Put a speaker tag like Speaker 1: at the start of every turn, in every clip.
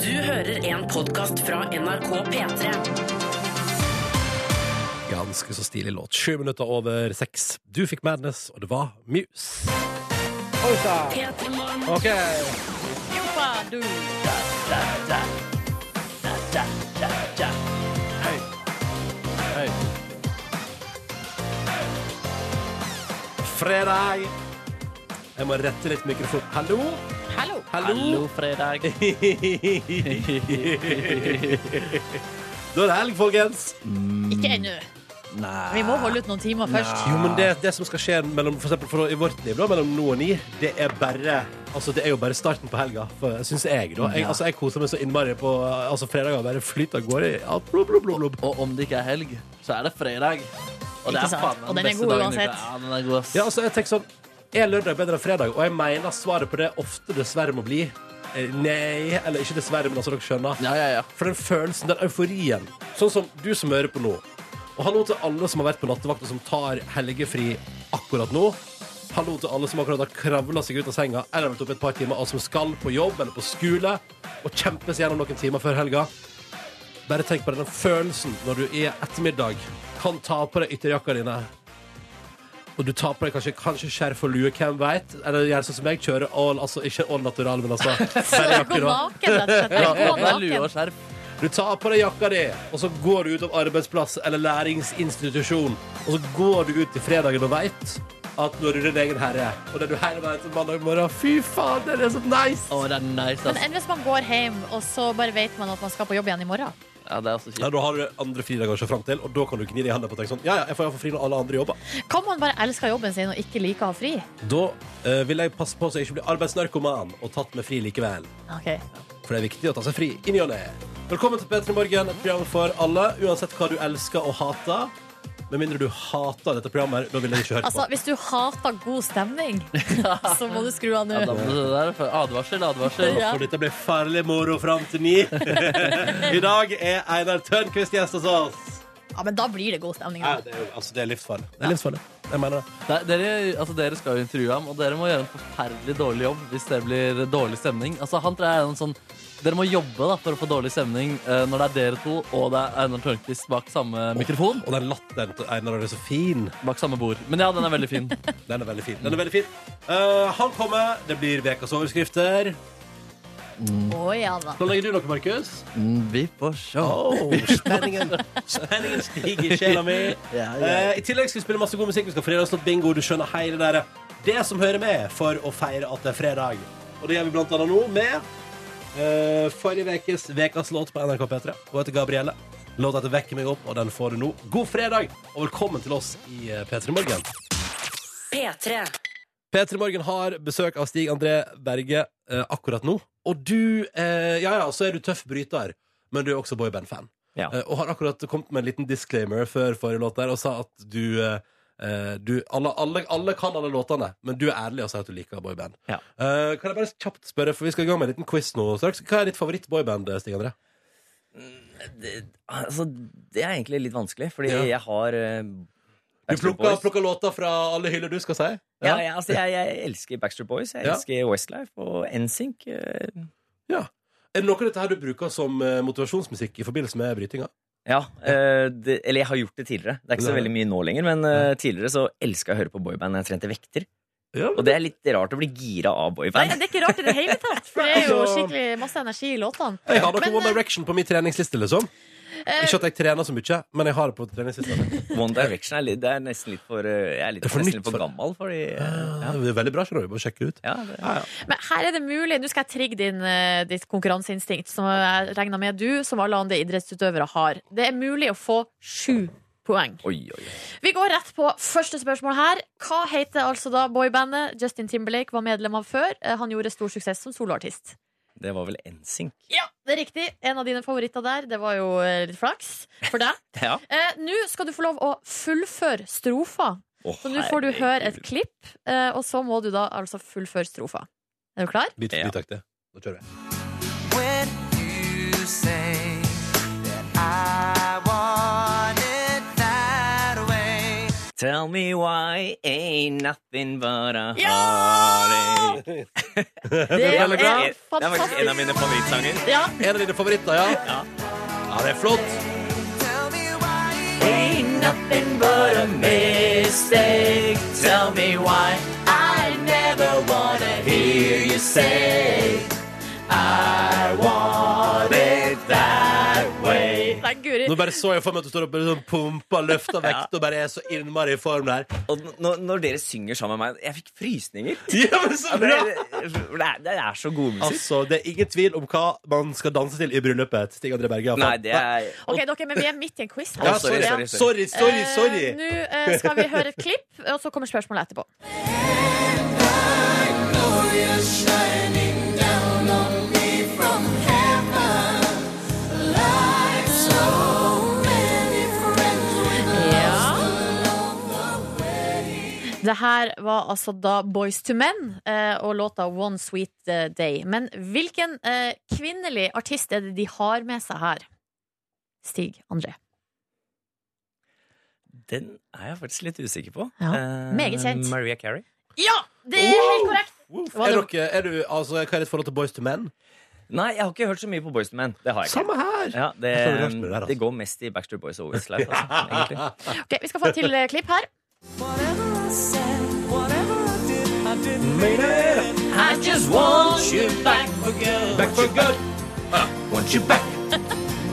Speaker 1: Du hører en podkast fra NRK P3.
Speaker 2: Ganske så stilig låt. Sju minutter over seks. Du fikk Madness, og det var Muse. OK. Fredag. Jeg må rette litt mikrofon. Hallo?
Speaker 3: Hallo.
Speaker 2: Hallo?
Speaker 4: fredag.
Speaker 2: Da er det helg, folkens.
Speaker 3: Ikke ennå. Vi må holde ut noen timer først.
Speaker 2: Jo, men det, det som skal skje mellom, for eksempel, for, i vårt liv da, mellom nå og ni, det er bare Altså, det er jo bare starten på helga, for- syns jeg. da jeg, altså, jeg koser meg så innmari på altså, fredager. Bare flyter av gårde. Ja, blub, blub, blub, blub.
Speaker 4: Og om det ikke er helg, så er det fredag. Og det
Speaker 3: Ikke
Speaker 4: er
Speaker 3: sant?
Speaker 4: faen meg
Speaker 3: Og
Speaker 4: den
Speaker 3: den er
Speaker 4: beste
Speaker 3: god
Speaker 4: dagen i uka.
Speaker 3: uansett.
Speaker 4: Ja, den er god, ass.
Speaker 2: Ja, altså, jeg tenker sånn Er lørdag bedre enn fredag? Og jeg mener svaret på det ofte dessverre må bli eh, nei. Eller ikke dessverre, men altså, dere skjønner.
Speaker 4: ja, ja, ja.
Speaker 2: For den følelsen, den euforien. Sånn som du som hører på nå. Og hallo til alle som har vært på nattevakt og som tar helgefri akkurat nå. Hallo til alle som akkurat har kravla seg ut av senga eller vært oppe et par timer, og som skal på jobb eller på skole og kjempes gjennom noen timer før helga. Bare tenk på den følelsen når du i ettermiddag kan ta på deg ytterjakka dine. Og du tar på deg kanskje, kanskje skjerf og lue, hvem veit? Eller gjør sånn som jeg kjører all, altså ikke all natural, men altså bare
Speaker 3: Gå
Speaker 2: jakke,
Speaker 3: naken,
Speaker 2: da.
Speaker 3: rett og slett. Nei,
Speaker 4: Ja,
Speaker 3: gå
Speaker 4: det er lue
Speaker 3: naken.
Speaker 4: og skjerf.
Speaker 2: Du tar på deg jakka di, og så går du ut av arbeidsplass eller læringsinstitusjon. Og så går du ut til fredagen og veit at nå er du din egen herre. Og det er du hele veien til mandag morgen. Fy faen, det er så nice!
Speaker 4: Å, det er nice,
Speaker 3: Men
Speaker 4: ass.
Speaker 3: enn hvis man går hjem, og så bare vet man at man skal på jobb igjen i morgen?
Speaker 4: Ja, det er også
Speaker 2: Ja,
Speaker 4: kjipt.
Speaker 2: da har du andre fridager å se fram til, og da kan du gni deg i hendene på og tenke sånn Ja, ja, jeg får iallfall fri når alle andre jobber.
Speaker 3: Kan man bare elske jobben sin og ikke like å ha fri?
Speaker 2: Da eh, vil jeg passe på så jeg ikke blir arbeidsnarkoman og tatt med fri likevel.
Speaker 3: Ok.
Speaker 2: For det er viktig å ta seg fri i ny og ne. Velkommen til P3 Morgen, et program for alle, uansett hva du elsker og hater. Med mindre du hater dette programmet, her, da vil jeg ikke høre på.
Speaker 3: Altså, Hvis du hater god stemning, så må du skru av
Speaker 4: Ja, da
Speaker 3: nå.
Speaker 4: må du det der. for Advarsel, advarsel.
Speaker 3: Ja.
Speaker 2: For dette blir farlig moro fram til ni. I dag er Einar Tørnquist gjest hos oss.
Speaker 3: Ja, men da blir det god stemning.
Speaker 2: Nei,
Speaker 3: Da.
Speaker 2: det, er, jo- altså, det er livsfarlig. Det er livsfarlig. Jeg mener det.
Speaker 4: Nei, dere, altså, dere skal jo intervjue ham, og dere må gjøre en forferdelig dårlig jobb hvis det blir dårlig stemning. Altså, han tror jeg er en sånn Dere må jobbe da, for å få dårlig stemning eh, når det er dere to og det er Einar Tørnquist bak samme mikrofon.
Speaker 2: Og den latteren til Einar er så fin.
Speaker 4: Bak samme bord. Men ja, den er veldig fin.
Speaker 2: Den er veldig fin. Den er veldig fin. Eh, han kommer. Det blir ukas overskrifter.
Speaker 3: Å ja da.
Speaker 2: Planlegger du noe, Markus?
Speaker 4: Mm, Vi får se.
Speaker 2: Oh, spenningen Spenningen stiger i sjela mi. Eh, I tillegg skal vi spille masse god musikk. Vi skal ha fredagslåt bingo. Du skjønner hele det der. Det som hører med for å feire at det er fredag. Og det gjør vi blant annet nå med eh, forrige ukes Vekas låt på NRK P3. Hun heter Gabrielle. Låta heter 'Vekker meg opp', og den får du nå. God fredag, og velkommen til oss i eh, P3 Morgen.
Speaker 1: P3.
Speaker 2: P3 Morgen har besøk av Stig André Berge eh, akkurat nå. Og du eh, Ja ja, så er du tøff bryter, men du er også boyband-fan.
Speaker 4: Ja.
Speaker 2: Eh, og har akkurat kommet med en liten disclaimer før forrige låt der og sa at du, eh, eh, du alle, alle, alle kan alle låtene, men du er ærlig og sier at du liker boyband.
Speaker 4: Ja.
Speaker 2: Eh, kan jeg bare kjapt spørre, for vi skal i gang med en liten quiz nå straks. Hva er ditt favoritt-boyband, eh, Stig André?
Speaker 5: det, altså, det er egentlig litt vanskelig, fordi
Speaker 2: Ja.
Speaker 5: jeg har eh,
Speaker 2: Du
Speaker 5: Backstreet
Speaker 2: plukker,
Speaker 5: Boys.
Speaker 2: plukker låter fra alle hyller du skal si?
Speaker 5: Ja, jeg, altså, jeg, jeg elsker Backstreet Boys, jeg
Speaker 2: Ja.
Speaker 5: elsker Westlife og NSYNC. eh,
Speaker 2: Er det noe av dette her du bruker som eh, motivasjonsmusikk i forbindelse med brytinga?
Speaker 5: Ja, eh, det, eller jeg har gjort det tidligere. Det er ikke så
Speaker 2: Nei.
Speaker 5: veldig mye nå lenger, men eh, tidligere så elska jeg å høre på boyband når jeg trente vekter.
Speaker 2: Ja,
Speaker 5: Og det er litt rart å bli gira av
Speaker 3: Nei,
Speaker 5: boyband.
Speaker 3: det er ikke rart i det hele tatt, for det er jo skikkelig masse energi i låtene.
Speaker 2: Jeg har noe
Speaker 3: Men,
Speaker 2: One Direction på min treningsliste, liksom.
Speaker 3: eh,
Speaker 2: Ikke at jeg trener så mye, men jeg har det på treningslista. mi.
Speaker 5: One Direction er, litt, det er nesten litt for eh, Jeg er litt,
Speaker 2: Det er for
Speaker 5: nesten
Speaker 2: nytt
Speaker 5: litt for
Speaker 2: for- Ah.
Speaker 5: gammel, fordi eh,
Speaker 2: Ja, det er veldig bra, skjønner du. Bare sjekke ut.
Speaker 5: ja, det,
Speaker 3: Men her er det mulig. Nå skal jeg trigge din, eh, ditt konkurranseinstinkt, som jeg regner med du, som alle andre idrettsutøvere, har. Det er mulig å få sju poeng.
Speaker 5: Oi, oi, oi.
Speaker 3: Vi går rett på første spørsmål her. Hva heter altså da boybandet Justin Timberlake var medlem av før? Eh, Han gjorde stor suksess som soloartist.
Speaker 5: Det var vel NSYNC.
Speaker 3: Ja, det er riktig. En av dine favoritter der. Det var jo eh, litt flaks for deg.
Speaker 5: Ja.
Speaker 3: Eh, Nå skal du få lov å fullføre strofa.
Speaker 5: Å,
Speaker 3: Så nå får du
Speaker 5: herregud.
Speaker 3: høre et klipp, eh, og så må du da altså fullføre strofa. Er du klar?
Speaker 2: Bit
Speaker 5: Ja.
Speaker 2: for bit-aktig. Da kjører vi.
Speaker 6: when you say that I want it that way.
Speaker 5: Tell me why ain't nothing but a
Speaker 3: Ja!
Speaker 5: heartache.
Speaker 3: Det
Speaker 2: veldig bra.
Speaker 3: er
Speaker 5: Det er faktisk en av
Speaker 3: fantastisk.
Speaker 5: mine favorittsanger.
Speaker 3: Ja,
Speaker 2: En av dine favoritter, ja? Ja, det er flott.
Speaker 6: Tell me why
Speaker 5: Ain't nothing but a mistake. Tell me why I never wanna hear you say I want it that way.
Speaker 3: nei, guri.
Speaker 2: Nå bare så jeg for meg at du står og bare sånn pumper, løfter vekt og bare er så innmari i form der.
Speaker 5: Og når, når dere synger sammen med meg Jeg fikk frysninger.
Speaker 2: Ja, men så
Speaker 5: Det, det, er, det er så god musikk.
Speaker 2: Altså, Det er ingen tvil om hva man skal danse til i bryllupet. Stig André Berge. i hvert fall.
Speaker 5: Nei, det er
Speaker 3: Ok, dere, men vi er midt i en quiz her.
Speaker 2: ja, sorry,
Speaker 3: Ja.
Speaker 2: sorry, sorry. sorry, sorry.
Speaker 3: Eh, Nå eh, skal vi høre et klipp, og så kommer spørsmålet etterpå. Ja. Det her var altså da Boys to Men eh, og låta One Sweet eh, Day. Men hvilken eh, kvinnelig artist er det de har med seg her? Stig André.
Speaker 5: Den er jeg faktisk litt usikker på.
Speaker 3: Ja,
Speaker 5: Eh,
Speaker 3: meget kjent.
Speaker 5: Maria Carey.
Speaker 3: Ja! Det er helt korrekt!
Speaker 2: Uff,
Speaker 3: Hva
Speaker 2: Er
Speaker 3: det-
Speaker 2: dere, er du, altså, hva er ditt forhold til Boys to Men?
Speaker 5: Nei, jeg har ikke hørt så mye på Boyz II Men. Det har jeg ikke.
Speaker 2: Samme her!
Speaker 5: Ja, det,
Speaker 2: Jeg tror det er rart med det der, altså.
Speaker 5: det går mest i Backstreet Boys og Westlife. Altså, egentlig.
Speaker 3: Ok, Vi skal få et til eh, klipp her. I just want you back for good.
Speaker 2: Back for good. want you back.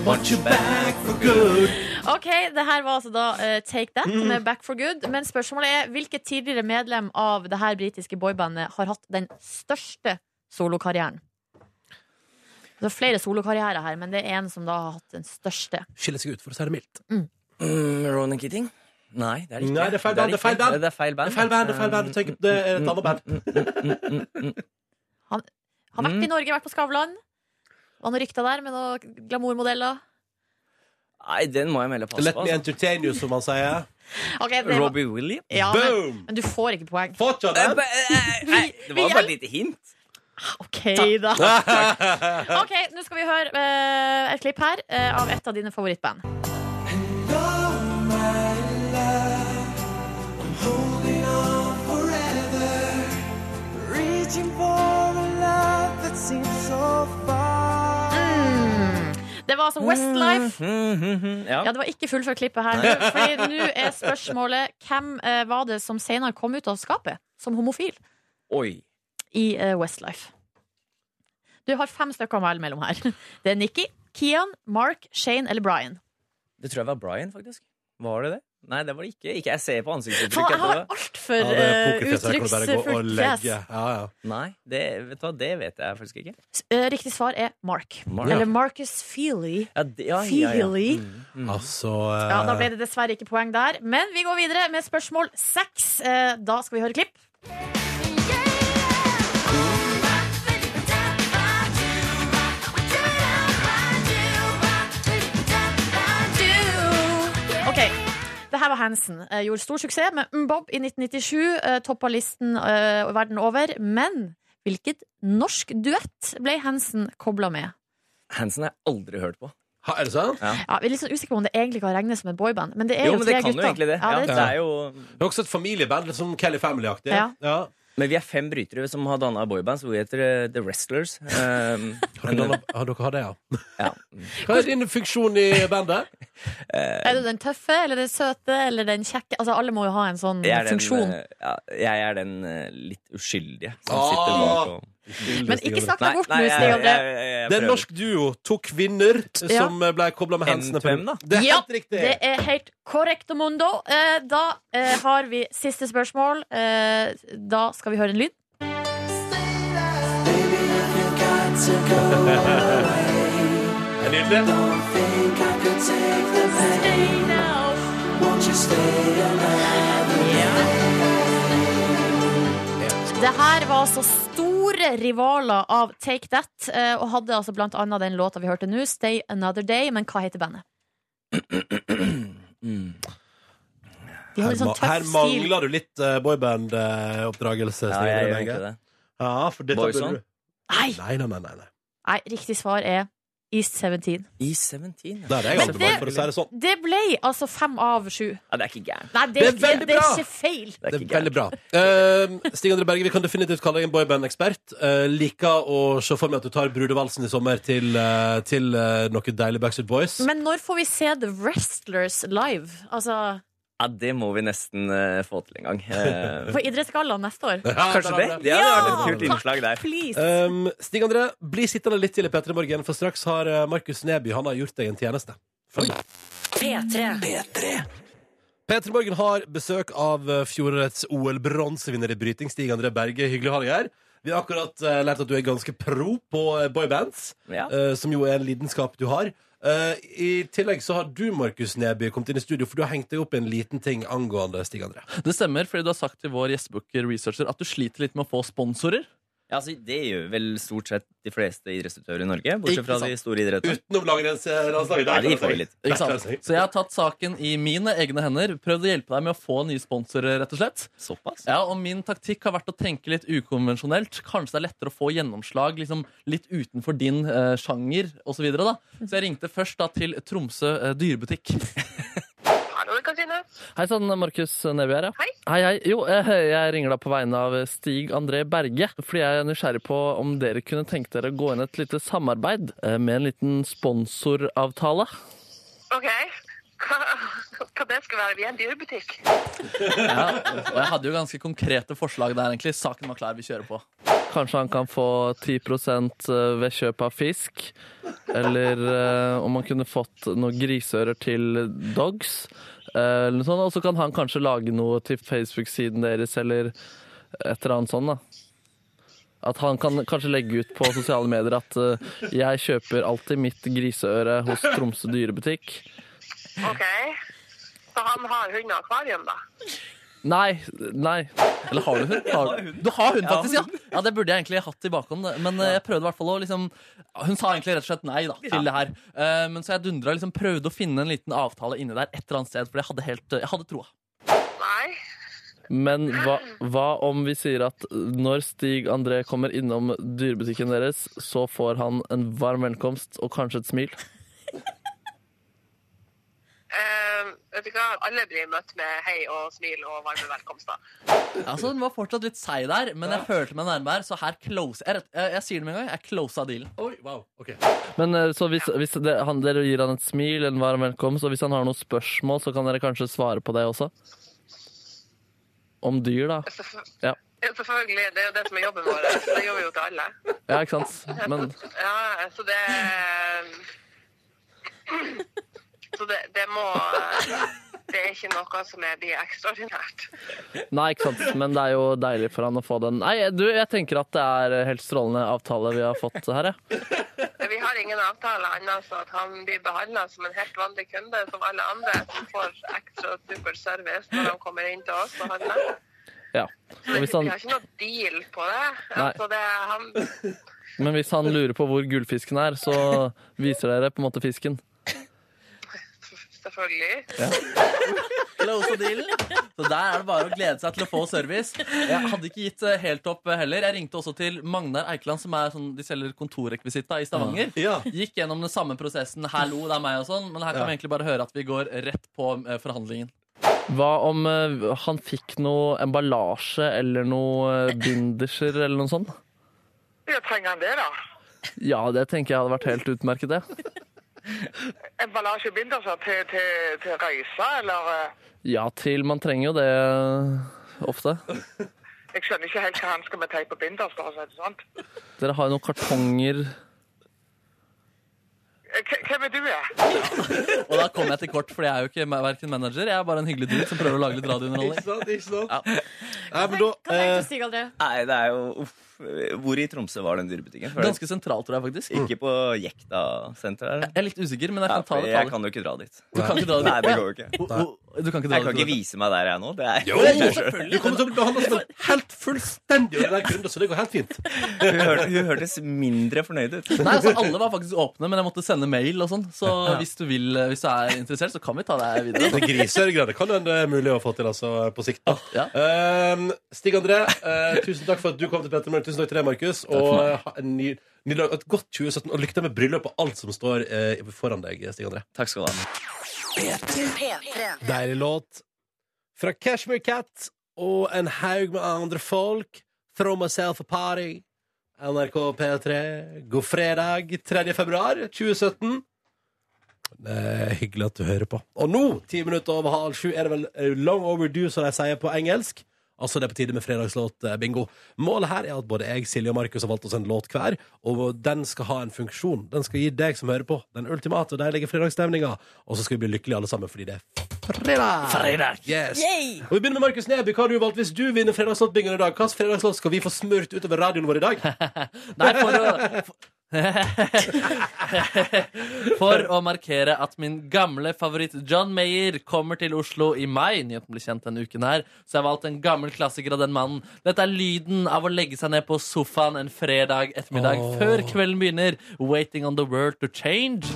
Speaker 2: Want you back for good.
Speaker 3: Ok, det her var altså da eh, Take That med Back for Good. Men spørsmålet er hvilket tidligere medlem av det her britiske boybandet har hatt den største solokarrieren? Det er flere solokarrierer her, men det er en som da har hatt den største.
Speaker 2: Skiller seg ut, for å si det mildt.
Speaker 5: Mm, Ronan Keating? Nei, det er ikke
Speaker 2: Nei, det er feil band, det er feil band.
Speaker 5: Det er feil
Speaker 2: Det
Speaker 5: band.
Speaker 2: er feil band, det er feil band. Du tenker, det er et annet band.
Speaker 3: Har vært i Norge, vært på Skavlan. Var noen rykter der med noen glamourmodeller.
Speaker 5: Nei, den må jeg melde pass
Speaker 2: mm. Let
Speaker 5: på.
Speaker 2: me
Speaker 5: Altså.
Speaker 2: entertain you, som man sier.
Speaker 3: Ok, det var-
Speaker 5: Robbie Williams?
Speaker 3: ja, men,
Speaker 2: Boom!
Speaker 3: men du får ikke poeng.
Speaker 2: Fortsatt
Speaker 5: Eh,
Speaker 2: den.
Speaker 5: ba- eh, eh, eh, Det
Speaker 3: Vi-
Speaker 5: var
Speaker 3: vi
Speaker 5: bare
Speaker 3: er-
Speaker 5: et lite hint.
Speaker 3: OK, da. OK, nå skal vi høre eh, et klipp her eh, av et av dine favorittband.
Speaker 6: holding on forever, reaching for a love that seems so far.
Speaker 3: Det var altså Westlife.
Speaker 5: Mhm, mhm, ja.
Speaker 3: Ja, det var ikke fullført klippet her nå. Fordi nå er spørsmålet hvem eh, var det som senere kom ut av skapet som homofil
Speaker 5: Oi.
Speaker 3: i eh, Westlife? Du har fem stykker å melde mellom her. Det er Nikki, Kian, Mark, Shane eller Brian.
Speaker 5: Det tror jeg var Brian, faktisk. Var det det? Nei, det var det ikke. ikke jeg ser på
Speaker 3: Faen,
Speaker 5: ansiktsuttrykket.
Speaker 3: jeg har
Speaker 5: etterpå.
Speaker 2: Ja,
Speaker 3: altfor
Speaker 2: det er
Speaker 3: eh,
Speaker 2: pokerfjes. Jeg kan bare gå og
Speaker 3: uttrykksfullt fjes.
Speaker 2: legge. Ja, ja.
Speaker 5: Nei, det vet, du, hva, det vet jeg faktisk ikke.
Speaker 3: S- eh, Riktig svar er Mark.
Speaker 5: Mark.
Speaker 3: Eller Marcus Feely.
Speaker 5: Ja, det, ja, ja, ja.
Speaker 3: Feely.
Speaker 5: Mm, mm.
Speaker 2: Altså
Speaker 3: Ja, Da
Speaker 2: eh,
Speaker 3: ble det dessverre ikke poeng der. Men vi går videre med spørsmål seks. Eh, Da skal vi høre klipp. Ok, det her var Hansen. Eh, Gjorde stor suksess med Mbob i 1997. eh, Toppa listen eh, verden over. Men hvilket norsk duett ble Hansen kobla med?
Speaker 5: Hansen har jeg aldri hørt på.
Speaker 2: ha, Er det sant?
Speaker 3: Ja, vi er litt sånn usikre på om det egentlig kan regnes som et boyband. Men det er
Speaker 5: Jo,
Speaker 3: jo,
Speaker 5: men
Speaker 3: tre
Speaker 5: det kan jo
Speaker 3: gutter.
Speaker 5: egentlig det.
Speaker 3: Ja,
Speaker 5: Ja,
Speaker 3: det er
Speaker 5: det er jo...
Speaker 2: Det er også et familieband, litt sånn Kelly Family-aktig.
Speaker 3: Ja.
Speaker 5: Men vi er fem brytere som har danna boybands. Hvor vi heter eh, The Wrestlers. Um,
Speaker 2: Har dere, har dere har det, ja? Mm.
Speaker 5: Ja.
Speaker 2: Hva er din funksjon i bandet?
Speaker 3: Er du den tøffe, eller den søte, eller den kjekke? Altså, alle må jo ha en sånn
Speaker 5: Jeg er den,
Speaker 3: funksjon.
Speaker 5: eh, ja, jeg er den eh, litt uskyldige som
Speaker 2: Ah!
Speaker 5: sitter bak og
Speaker 3: Men ikke snakk deg bort nå,
Speaker 5: jeg-
Speaker 3: Stig
Speaker 5: jeg-
Speaker 3: André.
Speaker 5: jeg- jeg-
Speaker 2: Det
Speaker 5: jeg
Speaker 2: er en
Speaker 5: prøver.
Speaker 2: norsk duo, to kvinner,
Speaker 3: Ja.
Speaker 2: som eh, ble kobla med Hansen.
Speaker 5: M2M, da.
Speaker 2: Det er
Speaker 3: Ja,
Speaker 2: helt riktig!
Speaker 3: det er helt korrekt, Mundo. Eh, Da eh, har vi siste spørsmål. Eh, Da skal vi høre en lyd.
Speaker 2: Det er nydelig.
Speaker 3: Det her var altså store rivaler av Take That, eh, og hadde altså blant annet den låta vi hørte nå, Stay Another Day, men hva heter bandet?
Speaker 5: Mm.
Speaker 3: De
Speaker 2: Her,
Speaker 3: hadde sånn
Speaker 2: ma-
Speaker 3: tøff
Speaker 2: her
Speaker 3: stil.
Speaker 2: mangler du litt uh, boyband-oppdragelse.
Speaker 5: Ja, jeg gjør egentlig det.
Speaker 2: Ja, for dette
Speaker 5: Boyzone?
Speaker 2: burde du-
Speaker 3: Nei,
Speaker 2: Nei, nei, nei. nei, nei.
Speaker 3: nei, riktig svar er East 17.
Speaker 5: I 17.
Speaker 2: Der er jeg alltid
Speaker 3: det-
Speaker 2: var, for å si det sånn.
Speaker 3: Det ble altså fem av sju.
Speaker 5: Ja, det er ikke gærent.
Speaker 3: Nei, det, er
Speaker 2: Det er
Speaker 3: ikke-
Speaker 2: veldig
Speaker 3: det er
Speaker 2: bra!
Speaker 3: ikke feil.
Speaker 5: Det
Speaker 2: Det
Speaker 5: er
Speaker 2: er
Speaker 5: ikke
Speaker 2: veldig
Speaker 5: gærent.
Speaker 2: bra. Eh, Stig André Berge, vi kan definitivt kalle deg en boyband-ekspert. Eh, liker å se for meg at du tar brudevalsen i sommer til, eh, til eh, noe deilig Backstreet Boys.
Speaker 3: Men når får vi se The Wrestlers live? Altså
Speaker 5: Ja, det må vi nesten eh, få til en gang. Eh,
Speaker 3: på Idrettsgallaen neste år?
Speaker 2: Ja,
Speaker 5: kanskje
Speaker 2: der
Speaker 5: det?
Speaker 2: har vi
Speaker 5: Det hadde vært
Speaker 3: Ja,
Speaker 5: et kult
Speaker 3: takk.
Speaker 5: innslag der.
Speaker 3: Please.
Speaker 2: Um, Stig André, bli sittende litt til i P3 Morgen, for straks har eh, Markus Neby han har gjort deg en tjeneste. Følg med.
Speaker 1: P3.
Speaker 2: P3 Morgen har besøk av eh, fjorårets OL-bronsevinner i bryting, Stig André Berge. Hyggelig å ha deg her. Vi har akkurat eh, lært at du er ganske pro på eh, boybands,
Speaker 5: Ja.
Speaker 2: eh, som jo er en lidenskap du har. Eh, I tillegg så har du, Markus Neby, kommet inn i studio, for du har hengt deg opp i en liten ting angående Stig André.
Speaker 4: Det stemmer, fordi du har sagt til vår gjestebooker researcher at du sliter litt med å få sponsorer.
Speaker 5: Ja, altså, det gjør vel stort sett de fleste idrettsutøvere i Norge,
Speaker 2: Ikke
Speaker 5: bortsett fra
Speaker 2: sant.
Speaker 5: de store idrettene.
Speaker 2: Utenom eh, langrennslandslaget.
Speaker 5: Ja, de får vi litt.
Speaker 4: Ikke sant? Så jeg har tatt saken i mine egne hender, prøvd å hjelpe deg med å få nye sponsorer, rett og slett.
Speaker 5: Såpass?
Speaker 4: Ja, og min taktikk har vært å tenke litt ukonvensjonelt. Kanskje det er lettere å få gjennomslag liksom, litt utenfor din eh, sjanger osv. Så, videre, da. så jeg ringte først da, til Tromsø eh, dyrebutikk.
Speaker 7: Hallo, Katrine.
Speaker 4: Hei sann, Markus Neby her. Ja.
Speaker 7: Hei.
Speaker 4: hei, hei. Jo, eh, jeg ringer da på vegne av Stig André Berge. Fordi jeg er nysgjerrig på om dere kunne tenke dere å gå inn et lite samarbeid eh, med en liten sponsoravtale.
Speaker 7: Ok. Hva, hva det skal være? Vi er en dyrebutikk.
Speaker 4: Ja, og jeg hadde jo ganske konkrete forslag der, egentlig. Saken var klar, vi kjører på.
Speaker 8: Kanskje han kan få 10 ved kjøp av fisk. Eller eh, om han kunne fått noen griseører til dogs. eh, Eller noe sånt. Og så kan han kanskje lage noe til Facebook-siden deres eller et eller annet sånt. da. At han kan kanskje legge ut på sosiale medier at eh, 'jeg kjøper alltid mitt griseøre hos Tromsø dyrebutikk'.
Speaker 7: Ok. Så han har hund og akvarium, da?
Speaker 8: Nei, nei.
Speaker 4: Eller har du hund? Har du, du har hund, faktisk, ja! Ja, Det burde jeg egentlig hatt i bakhånd, men eh, jeg prøvde i hvert fall å liksom Hun sa egentlig rett og slett nei da, til det her. Eh, Men så jeg dundra liksom prøvde å finne en liten avtale inni der et eller annet sted, for jeg hadde helt eh, Jeg hadde troa.
Speaker 7: Nei.
Speaker 8: Men hva, hva om vi sier at når Stig André kommer innom dyrebutikken deres, så får han en varm velkomst og kanskje et smil?
Speaker 7: Eh, vet du hva? Alle blir møtt med hei og smil og varme velkomster.
Speaker 4: Altså, Hun var fortsatt litt seig der, men jeg følte meg nærmere, så her close Jeg, rett- jeg, jeg sier det med en gang, jeg closa dealen.
Speaker 2: Oi, wow. ok.
Speaker 8: Men eh, så hvis, hvis det, han, dere gir han et smil, en varm velkomst, og hvis han har noen spørsmål, så kan dere kanskje svare på det også? Om dyr, da.
Speaker 7: Selvfø-
Speaker 8: Ja.
Speaker 7: Ja, Selvfølgelig. Det er jo det som er jobben vår. Det gjør vi jo til alle.
Speaker 8: Ja, ikke sant? Men
Speaker 7: Ja, så det ehm, Så det, det må Det er ikke noe som er, blir ekstraordinært.
Speaker 8: Nei, ikke sant. Men det er jo deilig for han å få den. Nei, du, jeg tenker at det er helt strålende avtale vi har fått her, jeg.
Speaker 7: Men Vi har ingen avtale annet så at han blir behandla som en helt vanlig kunde som alle andre som får ekstra super service når han kommer inn til oss og handler.
Speaker 8: Ja. Og hvis
Speaker 7: Vi
Speaker 8: han,
Speaker 7: har ikke noe deal på det. Altså det er han,
Speaker 8: men hvis han lurer på hvor gullfisken er, så viser dere på en måte fisken.
Speaker 7: selvfølgelig.
Speaker 4: Close the deal. Så der er det bare å glede seg til å få service. Jeg hadde ikke gitt eh, helt opp eh, heller. Jeg ringte også til Magnar Eikeland, som er sånn, de selger kontorrekvisitta i Stavanger.
Speaker 2: Ja.
Speaker 4: Gikk gjennom den samme prosessen. Hallo, det er meg og sånn. Men her kan vi egentlig bare høre at vi går rett på eh, forhandlingen.
Speaker 8: Hva om eh, han fikk noe emballasje eller noe eh, binderser eller noe sånt?
Speaker 7: Ja, trenger han det, da?
Speaker 8: Ja, det tenker jeg hadde vært helt utmerket, det.
Speaker 7: Emballasjebinder altså, til, til, til reiser, eller eh,
Speaker 8: Ja til, man trenger jo det eh, ofte.
Speaker 7: Jeg skjønner ikke helt hva han skal med teip og binders, for å si det sånn.
Speaker 8: Dere har jo noen kartonger
Speaker 7: Eh, hva- Hvem er du, ja?
Speaker 4: Og da kom jeg til kort, for jeg er jo ikke ma- hverken manager. Jeg er bare en hyggelig dude som prøver å lage litt
Speaker 2: Ikke
Speaker 4: radiounderholdning.
Speaker 2: sant? Ikke sant?
Speaker 4: Ja.
Speaker 2: Nei, men da,
Speaker 3: Hva tenkte
Speaker 2: eh,
Speaker 3: du, Stig André?
Speaker 5: Nei, det er jo uff. Hvor i Tromsø var den dyrebutikken? For
Speaker 4: Ganske sentral, tror jeg faktisk.
Speaker 5: Ikke på
Speaker 4: Jeg
Speaker 5: Jekta-senteret?
Speaker 4: er litt usikker, men jeg
Speaker 5: Ja,
Speaker 4: kan ta
Speaker 5: for
Speaker 4: det.
Speaker 5: jeg
Speaker 4: Ta det.
Speaker 5: kan jo ikke dra dit.
Speaker 4: Du kan ikke dra
Speaker 5: Nei, det
Speaker 4: det.
Speaker 5: går jo ikke.
Speaker 4: Å, å, Du kan ikke dra
Speaker 5: Jeg kan
Speaker 4: det.
Speaker 5: ikke vise meg der jeg er nå. Det er
Speaker 2: Jo, du kommer til å bli behandla som en helt fullstendig ordinær kunde, så det går helt fint.
Speaker 5: Hun, hør, hun hørtes mindre fornøyd ut.
Speaker 4: Nei, altså Alle var faktisk åpne, men jeg måtte sende mail øl og sånn. Så hvis du, vil, eh, hvis du er interessert, så kan vi ta deg videre.
Speaker 2: Det griseørgreiene kan jo det er mulig å få til altså, på sikt. da
Speaker 4: Ja.
Speaker 2: Ehm, Stig André, eh, tusen takk for at du kom til Petter Møller. Tusen takk til deg, Markus. Og eh, ha en ny, ny dag, et godt 2017. Og lykke til med bryllup og alt som står eh, foran deg, Stig André.
Speaker 5: Takk skal du ha.
Speaker 2: Deilig låt fra Cashmere Cat og en haug med andre folk. Throw myself a party. NRK P3. God fredag 3. februar 2017. Det er hyggelig at du hører på. Og nå, ti minutter over halv sju, er det vel eh, long overdue, som de sier på engelsk. Altså det er på tide med fredagslåt-bingo. Målet her er at både jeg, Silje og Markus har valgt oss en låt hver, og den skal ha en funksjon. Den skal gi deg som hører på, den ultimate og deilige fredagsstemninga. Og så skal vi bli lykkelige alle sammen fordi det er fredag! Yes. Og vi begynner med Markus Neby. Hva har du valgt hvis du vinner fredagslåtbingoen i dag? Hvilken fredagslåt skal vi få smurt utover radioen vår i dag?
Speaker 4: Nei, for å For å markere at min gamle favoritt John Mayer kommer til Oslo i mai. Nyheten blir kjent denne uken her, så jeg har valgt en gammel klassiker av den mannen. Dette er lyden av å legge seg ned på sofaen en fredag ettermiddag
Speaker 2: Åh.
Speaker 4: før kvelden begynner. Waiting on the world to change.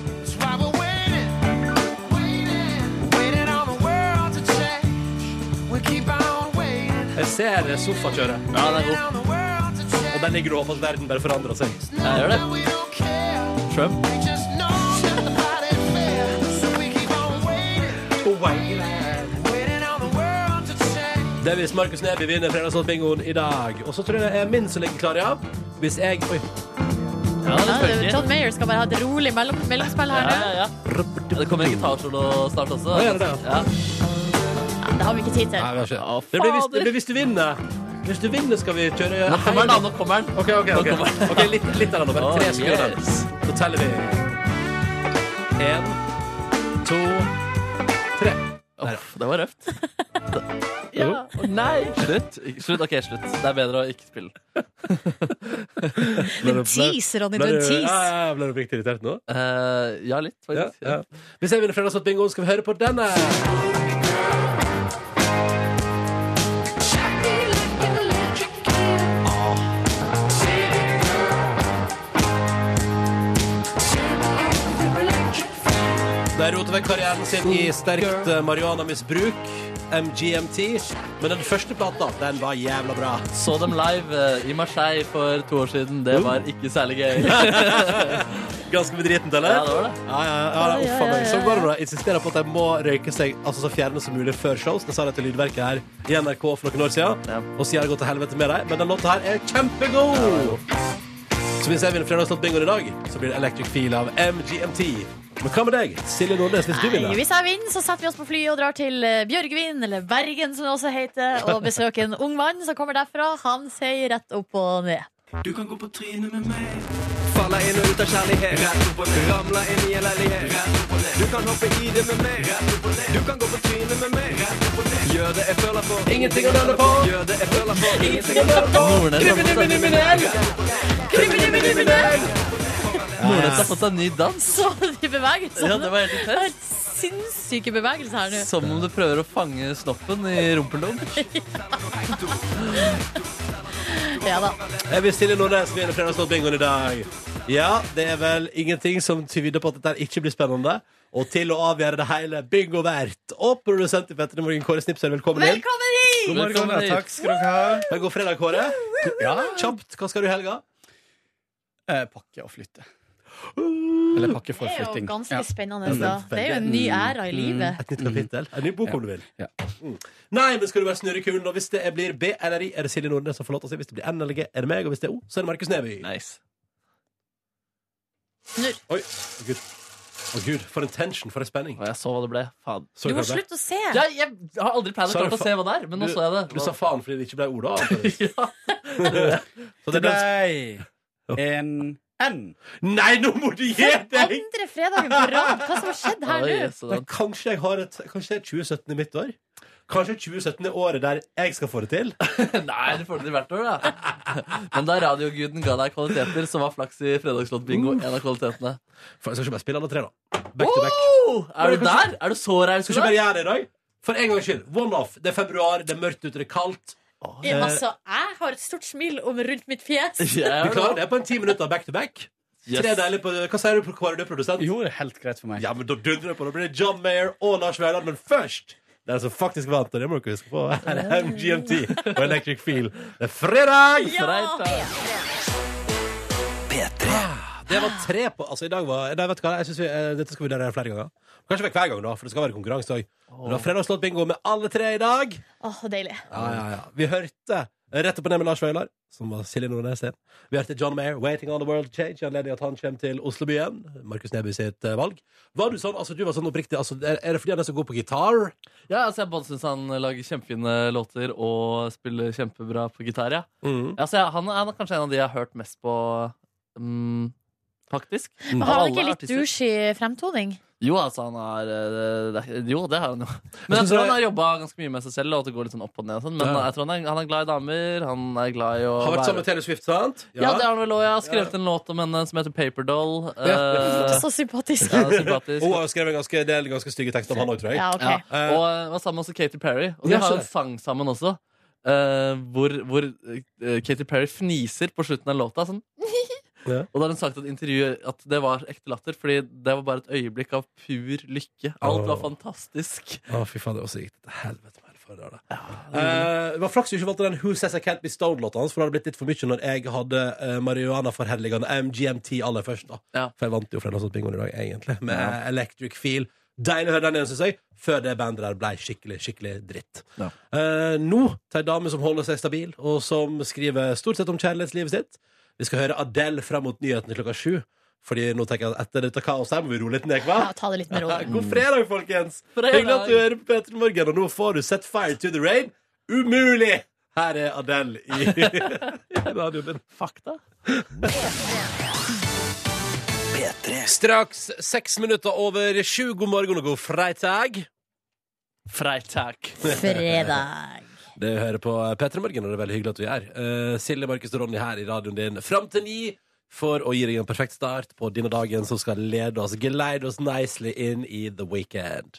Speaker 2: Jeg ser sofakjøret.
Speaker 4: Ja, den er god.
Speaker 2: Og der ligger du og håper at verden bare forandrer seg.
Speaker 4: Jeg gjør det. Trump.
Speaker 2: Det er hvis Markus Neby vinner fredagslåtbingoen i dag. Og så tror jeg det er min som ligger klar, ja. Hvis jeg Oi.
Speaker 3: Ja,
Speaker 4: Ja, det
Speaker 3: det-
Speaker 4: funker.
Speaker 3: John Mayer skal bare ha et rolig mellom, mellomspill her.
Speaker 4: Ja,
Speaker 3: nå.
Speaker 4: ja, ja. Det kommer en gitarsolo snart også.
Speaker 2: gjør det det?
Speaker 4: Ja.
Speaker 3: Ja, det har vi ikke tid til.
Speaker 2: Nei, vi har ikke.
Speaker 4: Å,
Speaker 2: Det blir hvis,
Speaker 4: fader.
Speaker 2: det blir hvis du vinner. Hvis du vinner, skal vi kjøre
Speaker 4: Nå kommer den, da. Nå kommer den.
Speaker 2: OK, OK. ok,
Speaker 4: Nå kommer den.
Speaker 2: Ok, litt, litt av den. Bare tre
Speaker 4: Oh,
Speaker 2: sekunder. av den.
Speaker 4: yes.
Speaker 2: Så teller vi. Én, to, tre.
Speaker 4: Uff, det var røft.
Speaker 3: Ja.
Speaker 4: Nei! Slutt. slutt. Ok, slutt. Det er bedre å ikke spille.
Speaker 3: Du teaser, Ronny. Du er en
Speaker 2: Ja,
Speaker 3: tease.
Speaker 2: ja, ja, ble du riktig irritert nå?
Speaker 4: Eh, ja, litt,
Speaker 2: Ja,
Speaker 4: faktisk.
Speaker 2: ja. Hvis jeg vinner fredagslåtbingoen, skal vi høre på denne. De roter vekk karrieren sin i sterkt eh, marihuanamisbruk, MGMT. Men den første plata, den var jævla bra.
Speaker 4: Så dem live eh, i Marseille for to år siden. Det var ikke særlig gøy. Ja,
Speaker 2: Ganske bedritent, eller?
Speaker 4: det var det.
Speaker 2: Ja, ja, ja, ja, uff a meg. Så var det da. Jeg insisterer på at de må røyke seg altså så fjerne som mulig før shows. Det sa de til Lydverket her i NRK for noen år siden.
Speaker 4: Ja.
Speaker 2: Og siden har det gått til helvete med dem. Men den låta her er kjempegod! Så hvis jeg vinner fredagslåtbingoen i dag, så blir det Electric Feel av MGMT. Men hva med deg, Silje Nordnes, hvis du
Speaker 3: Nei,
Speaker 2: vinner?
Speaker 3: Hvis jeg vinner, så setter vi oss på flyet og drar til eh, Bjørgvin, eller Bergen som det også heter, og besøker en ung mann som kommer derfra. Han sier rett opp og ned.
Speaker 6: Du kan gå på trynet med meg.
Speaker 9: Falla inn og ut av kjærlighet. Rett opp og ned. Ramla inn i en leilighet. Rett opp og ned. Du kan hoppe i det med meg. Rett opp og ned. Du kan gå på trynet med meg. Rett opp og ned. Gjør det jeg føler for. Ingenting å nøle på. Gjør det jeg føler for. Ingenting å nøle på.
Speaker 4: Nordnes har fått seg- Nordnes har fått seg ny dans.
Speaker 3: Så de bevegelsene.
Speaker 4: Ja, det var helt
Speaker 3: Det er
Speaker 4: intenst.
Speaker 3: helt sinnssyke bevegelser her nå.
Speaker 4: Som om du prøver å fange snoppen i rumpeldunk.
Speaker 3: Ja da.
Speaker 2: Jeg vil Silje Nordnes vinne fredagslåtbingoen i dag. Ja, det er vel ingenting som tyder på at dette her ikke blir spennende. Og til å avgjøre det hele, bingo verdt. Og produsent i Petter i morgen, Kåre Snipser, velkommen inn.
Speaker 3: Velkommen hit!
Speaker 4: God morgen, Velkommen hit. takk
Speaker 9: skal dere ha.
Speaker 2: Det går fredag, Kåre. Ja. Kjapt, hva skal du i helga? Eh,
Speaker 9: pakke og flytte. Eller pakke
Speaker 3: Det er jo ganske spennende.
Speaker 2: Ja, det er
Speaker 3: Da. Det er jo en ny æra i livet.
Speaker 2: Et nytt kapittel? En ny bok, om du vil.
Speaker 9: Ja.
Speaker 2: Mm. Nei, men skal du være snurrekulen, og hvis det er- blir B eller I, er det Silje Nordnes som får lov til å si. Hvis det blir N eller G, er det meg, og hvis det er O, så er det Markus Neby.
Speaker 4: Nice.
Speaker 2: Oi, å gud. Å gud, for en tension, for en spenning.
Speaker 4: Og jeg så hva det ble. Faen.
Speaker 2: Så
Speaker 3: Du må
Speaker 2: klart det.
Speaker 3: slutte å se.
Speaker 4: Ja, jeg har aldri pleid å
Speaker 2: Så er det
Speaker 4: klart å
Speaker 2: fa-
Speaker 4: se hva det er, men nå så jeg det.
Speaker 2: Du sa faen fordi det ikke ble O, da. antageligvis.
Speaker 4: ja.
Speaker 2: Så
Speaker 9: Det
Speaker 2: det ble...
Speaker 9: ble en N.
Speaker 2: Nei, nå må du gi deg!
Speaker 3: Andre fredagen på rad. Hva som har skjedd her
Speaker 4: Oi,
Speaker 3: nå?
Speaker 4: så
Speaker 2: Men
Speaker 4: da-
Speaker 2: kanskje jeg har et Kanskje det er 2017 i mitt år? Kanskje 2017 er året der jeg skal få det til?
Speaker 4: Nei, det får du til hvert år, da. Men da radioguden ga deg kvaliteter, så var flaks i fredagslåtbingo en av kvalitetene.
Speaker 2: For jeg skal ikke bare spille alle tre, da. Back to back.
Speaker 4: Oh, er du der? Er du så raus?
Speaker 2: Skal ikke bare gjøre det i dag? For en gangs skyld. One off. Det er februar, det er mørkt ute, det er kaldt. Eh,
Speaker 3: Ja, altså, jeg har et stort smil om rundt mitt fjes.
Speaker 4: Ja,
Speaker 2: Vi klarer det på en ti minutter back to back. Tre deilige på Hva sier du på hva er du produsent?
Speaker 10: Jo, det er helt greit for meg.
Speaker 2: Ja, men da dundrer det på. Da blir det John Mayer og Lars Vaular, men først det er som faktisk vant, og det må dere huske på. Her er MGMT og Electric Feel. Det er fredag! Det var tre på Altså, i dag var Nei, vet du hva, jeg synes vi, eh, dette skal vi gjøre flere ganger. Kanskje hver gang, da, for det skal være konkurranse òg. Men det var fredagslåt bingo med alle tre i dag.
Speaker 3: Åh, deilig.
Speaker 2: Ja, ja, ja. Vi hørte Rett opp og ned med Lars Vaular, som var Silje Nordnes igjen. Vi hørte John Mayer, 'Waiting on the World Change', i anledning at han kommer til Oslobyen. Markus Neby sitt eh, valg. Var du sånn, altså du var sånn oppriktig, altså, er, er det fordi han er så god på gitar?
Speaker 4: Ja, altså Jeg både syns han lager kjempefine låter og spiller kjempebra på gitar. ja
Speaker 2: Mm.
Speaker 4: Altså, jeg- han, han er kanskje en av de jeg har hørt mest på, mm, faktisk.
Speaker 3: Men
Speaker 2: Mm.
Speaker 4: Av
Speaker 3: har han
Speaker 4: alle
Speaker 3: ikke litt
Speaker 4: artister.
Speaker 3: douche i fremtoning?
Speaker 4: Jo, altså, han har eh, det- Jo, det har han jo. Men
Speaker 2: Jeg
Speaker 4: jeg
Speaker 2: synes
Speaker 4: tror
Speaker 2: det-
Speaker 4: han har jobba ganske mye med seg selv, og at det går litt sånn opp og ned. Og sånn. Men
Speaker 2: Ja.
Speaker 4: jeg tror han er, han er glad i damer. Han er glad i å
Speaker 2: Har vært
Speaker 4: være-
Speaker 2: sammen med Taylor Swift, sant?
Speaker 4: ja. det har han vel også. Jeg har skrevet en låt om henne som heter Paperdoll. Uh,
Speaker 2: Eh.
Speaker 4: ja.
Speaker 3: Så sympatisk.
Speaker 4: det er sympatisk.
Speaker 2: Og hun har jo skrevet en ganske, del ganske stygge tekster om han òg, tror jeg.
Speaker 3: Ja,
Speaker 4: Ja.
Speaker 3: ok.
Speaker 2: Eh,
Speaker 4: Og eh, var sammen også Katy Perry. Og de
Speaker 2: Ja,
Speaker 4: har
Speaker 2: skjønner.
Speaker 4: en sang sammen også. eh, hvor hvor eh, Katy Perry fniser på slutten av låta. Sånn.
Speaker 2: Ja.
Speaker 4: Og da har hun sagt i et intervju at det var ekte latter, fordi det var bare et øyeblikk av pur lykke. Alt var
Speaker 2: Åh.
Speaker 4: fantastisk.
Speaker 2: Å, fy faen, det også gikk til helvete med helferdøra. Eh, det var flaks du ikke valgte den Who Says I Can't Be Stoned-låta hans, for det hadde blitt litt for mye når jeg hadde eh, marihuana-forherligende MGMT aller først, da.
Speaker 4: Ja.
Speaker 2: For jeg vant jo Fredagslåtbingoen i dag, egentlig, med Electric Feel. Deilig å høre den igjen, syns jeg, før det bandet der ble skikkelig, skikkelig dritt.
Speaker 4: Ja.
Speaker 2: Eh, nå til ei dame som holder seg stabil, og som skriver stort sett om kjærlighetslivet sitt. Vi skal høre Adele frem mot nyhetene klokka sju. Fordi nå tenker jeg at etter dette kaoset her må vi roe litt ned, hva?
Speaker 3: Ja, ta det litt med ro.
Speaker 2: God fredag, folkens!
Speaker 4: Fredag.
Speaker 2: Hyggelig at du hører på Peter Morgen, og nå får du Set Fire to the Rain. Umulig! Her er Adele i, i radioen. Fakta. Straks seks minutter over sju. God morgen og god fredag.
Speaker 4: Freitag.
Speaker 3: Fredag.
Speaker 2: Det hører på Petter Morgen, og det er veldig hyggelig at du er her. Eh, Silje, Markus og Ronny her i radioen din fram til ni for å gi deg en perfekt start på denne dagen som skal lede oss, geleide oss nicely inn i The Weekend.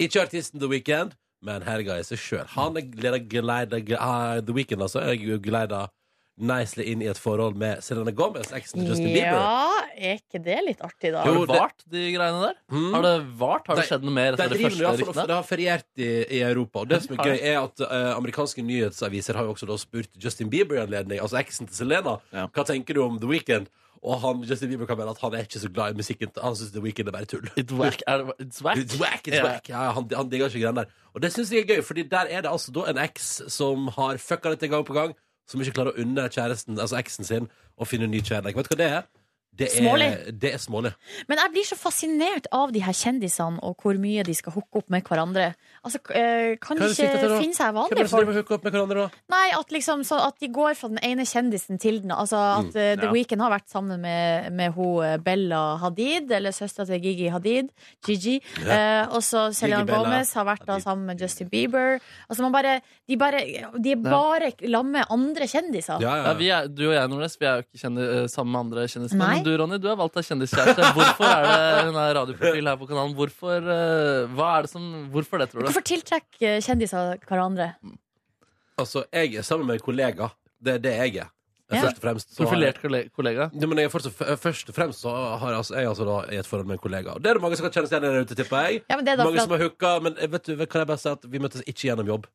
Speaker 2: Ikke artisten The Weekend, men helga i seg sjøl. Han er leder geleida ge- ah, The Weekend, altså. Er jo geleida nicely inn i et forhold med Selena Gomez, eksen til Justin Bieber.
Speaker 3: Ja, er ikke det litt artig, da?
Speaker 4: Har
Speaker 2: Jo,
Speaker 4: det
Speaker 2: det-
Speaker 4: vart, de greiene der?
Speaker 2: Mm.
Speaker 4: Har det vart? Har det
Speaker 2: Nei,
Speaker 4: skjedd noe mer
Speaker 2: De
Speaker 4: etter det
Speaker 2: driver i
Speaker 4: første
Speaker 2: hvert fall og-
Speaker 4: ryktene?
Speaker 2: det har feriert i, i Europa. Og det som er gøy, er at eh, amerikanske nyhetsaviser har jo også da spurt Justin Bieber i anledning, altså eksen til Selena,
Speaker 5: Ja.
Speaker 2: hva tenker du om The Weeknd? Og han, Justin Bieber kan mene at han er ikke så glad i musikken. til- Han syns The Weeknd er bare tull.
Speaker 4: It whack, er det, it's whack.
Speaker 2: It's whack, it's
Speaker 4: Ja.
Speaker 2: whack. Ja, han, han digger ikke greiene der. Og det syns jeg er gøy, Fordi der er det altså da en eks som har fucka dette gang på gang, som ikke klarer å unne kjæresten, altså eksen sin, å finne en ny kjærlighet. Vet du hva det er? Det er
Speaker 3: Smålig.
Speaker 2: Det er smålig.
Speaker 3: Men jeg blir så fascinert av de her kjendisene og hvor mye de skal hooke opp med hverandre. Altså, k- eh, Kan
Speaker 2: Hva
Speaker 3: de
Speaker 2: er det du sikter til, da?
Speaker 3: ikke finne seg
Speaker 2: Hvem er
Speaker 3: vanlige
Speaker 2: det som
Speaker 3: folk?
Speaker 2: driver og hooker opp med hverandre, da?
Speaker 3: Nei, at, liksom, så at de går fra den ene kjendisen til den Altså
Speaker 2: Mm.
Speaker 3: at eh, The Weeknd har vært sammen med, med ho, eh, Bella Hadid, eller søstera til Gigi Hadid, Gigi. Eh, og så Selena
Speaker 2: Bella
Speaker 3: Gomez har vært da
Speaker 2: Hadid.
Speaker 3: sammen med Justin Bieber. Altså man bare De, bare, de er bare sammen med andre kjendiser.
Speaker 2: Ja,
Speaker 4: Ja, vi er, du og jeg Nordnes, vi er jo ikke kjenner, eh, sammen med andre kjendiser.
Speaker 3: Nei.
Speaker 4: Men du Ronny, du er valgt av kjendiskjæreste. Hvorfor er det hun er radioprofil her på kanalen? Hvorfor, eh, hva er det som, hvorfor det, tror du?
Speaker 3: Hvorfor tiltrekker eh, kjendiser hverandre?
Speaker 2: Altså, jeg er sammen med en kollega. Det er det jeg er.
Speaker 3: Ja.
Speaker 2: Først og fremst. så har jeg-
Speaker 4: Profilert kolle- kollega.
Speaker 2: Ja, men jeg er fortsatt, f- eh, først og fremst så har jeg, altså, jeg er altså da i et forhold med en kollega. Og det er det mange som kan kjenne seg igjen i der ute, tipper jeg.
Speaker 3: Ja, men det er da for
Speaker 2: Mange
Speaker 3: at-
Speaker 2: som har hooka, men eh, vet du, kan jeg bare si at vi møttes ikke gjennom jobb.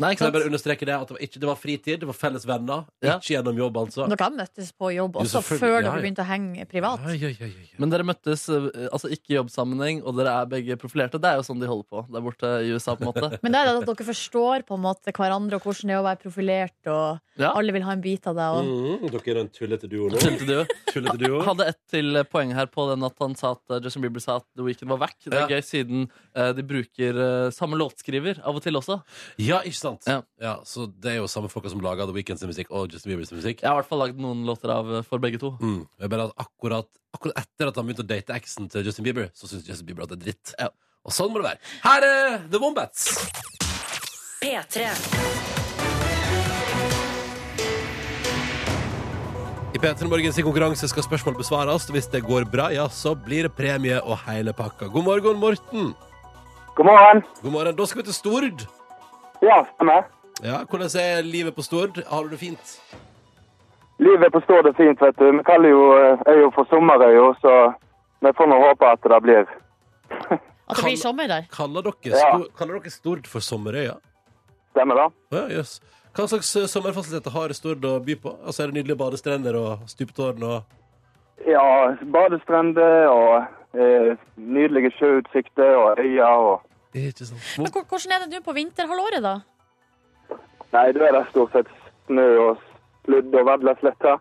Speaker 4: Nei,
Speaker 2: Kan
Speaker 4: ikke
Speaker 2: jeg bare
Speaker 4: sant?
Speaker 2: understreke det? At det var, ikke, det var fritid, det var felles venner.
Speaker 4: Ja.
Speaker 2: Ikke gjennom jobb, altså.
Speaker 3: Dere har møttes på jobb
Speaker 2: Jo,
Speaker 3: også,
Speaker 2: selvfølgelig,
Speaker 3: før
Speaker 2: ja,
Speaker 3: dere
Speaker 2: ja.
Speaker 3: begynte å henge privat.
Speaker 2: Ai, ai, ai, ai.
Speaker 4: Men dere møttes eh, altså ikke i jobbsammenheng, og dere er begge profilerte. Det er jo sånn de holder på der borte i USA, på en måte.
Speaker 3: Men det er det at dere forstår på en måte hverandre og hvordan det er å være profilert, og
Speaker 4: Ja.
Speaker 3: alle vil ha en bit av deg. Og...
Speaker 2: Mm, dere er en tullete duo nå.
Speaker 4: Skjønte du?
Speaker 2: Tullete duo.
Speaker 4: hadde ett til poeng her på den at han sa at eh, Justin Bieber sa at The Weeknd var wack. Det er gøy
Speaker 2: Ja.
Speaker 4: siden eh, de bruker eh, samme låtskriver av og til også.
Speaker 2: Ja, ikke sant? Ja.
Speaker 4: Ja.
Speaker 2: Så det er jo samme folka som lager The Weeknds musikk og Justin Biebers musikk.
Speaker 4: Jeg har i hvert fall lagd noen låter av eh, for begge to.
Speaker 2: Mm. Det er Bare at akkurat, akkurat etter at han begynte å date eksen til Justin Bieber, så syntes Justin Bieber at det er dritt.
Speaker 4: Ja.
Speaker 2: Og sånn må det være. Her er The Wombats.
Speaker 1: P3.
Speaker 2: I P3 Morgens konkurranse skal spørsmål besvares. og Hvis det går bra, ja, så blir det premie og hele pakka. God morgen, Morten.
Speaker 9: God morgen.
Speaker 2: God morgen. Da skal vi til Stord.
Speaker 9: Ja, stemmer.
Speaker 2: Ja, Hvordan er livet på Stord? Har du det fint?
Speaker 10: Livet består det fint, vet du. Vi kaller jo eh, øya for Sommerøya, så vi får nå håpe at det blir
Speaker 3: At det blir sommer der.
Speaker 2: Kaller dere,
Speaker 10: Ja.
Speaker 2: Stor- kaller dere Stord for Sommerøya?
Speaker 10: Stemmer det?
Speaker 2: Ja, jøss. Hva slags eh, sommerfasiliteter har Stord å by på? Altså, er det nydelige badestrender og stupetårn og
Speaker 10: Ja, badestrender og eh, nydelige sjøutsikter og øyer og
Speaker 2: Ikke sant.
Speaker 3: Men hvor- hvordan er det nå på vinterhalvåret, da?
Speaker 10: Nei, da er det stort sett snø og sludd og vedleslett her.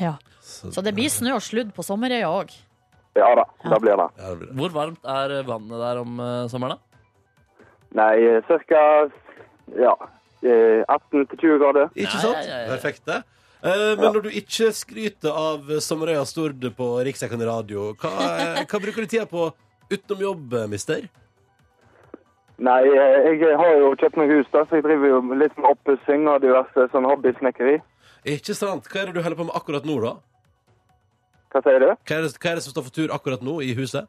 Speaker 3: Ja. Så det blir snø og sludd på sommerøya òg.
Speaker 10: Ja da, det blir det.
Speaker 4: Hvor varmt er vannet der om eh, sommeren, da?
Speaker 10: Nei, ca. ja, eh, 18-20 grader.
Speaker 2: Ikke sant? Perfekt, det. Eh, men når du ikke skryter av Sommerøya Stord på Riksdekken radio, hva, eh, hva bruker du tida på utenom jobb, eh, mister?
Speaker 10: Nei, eh, jeg har jo kjøpt meg hus, da, så jeg driver jo litt med oppussing og diverse sånn hobbysnekkeri.
Speaker 2: Ikke sant? Hva er det du holder på med akkurat nå, da?
Speaker 10: Hva sier du?
Speaker 2: Hva er det, hva er det som står for tur akkurat nå i huset?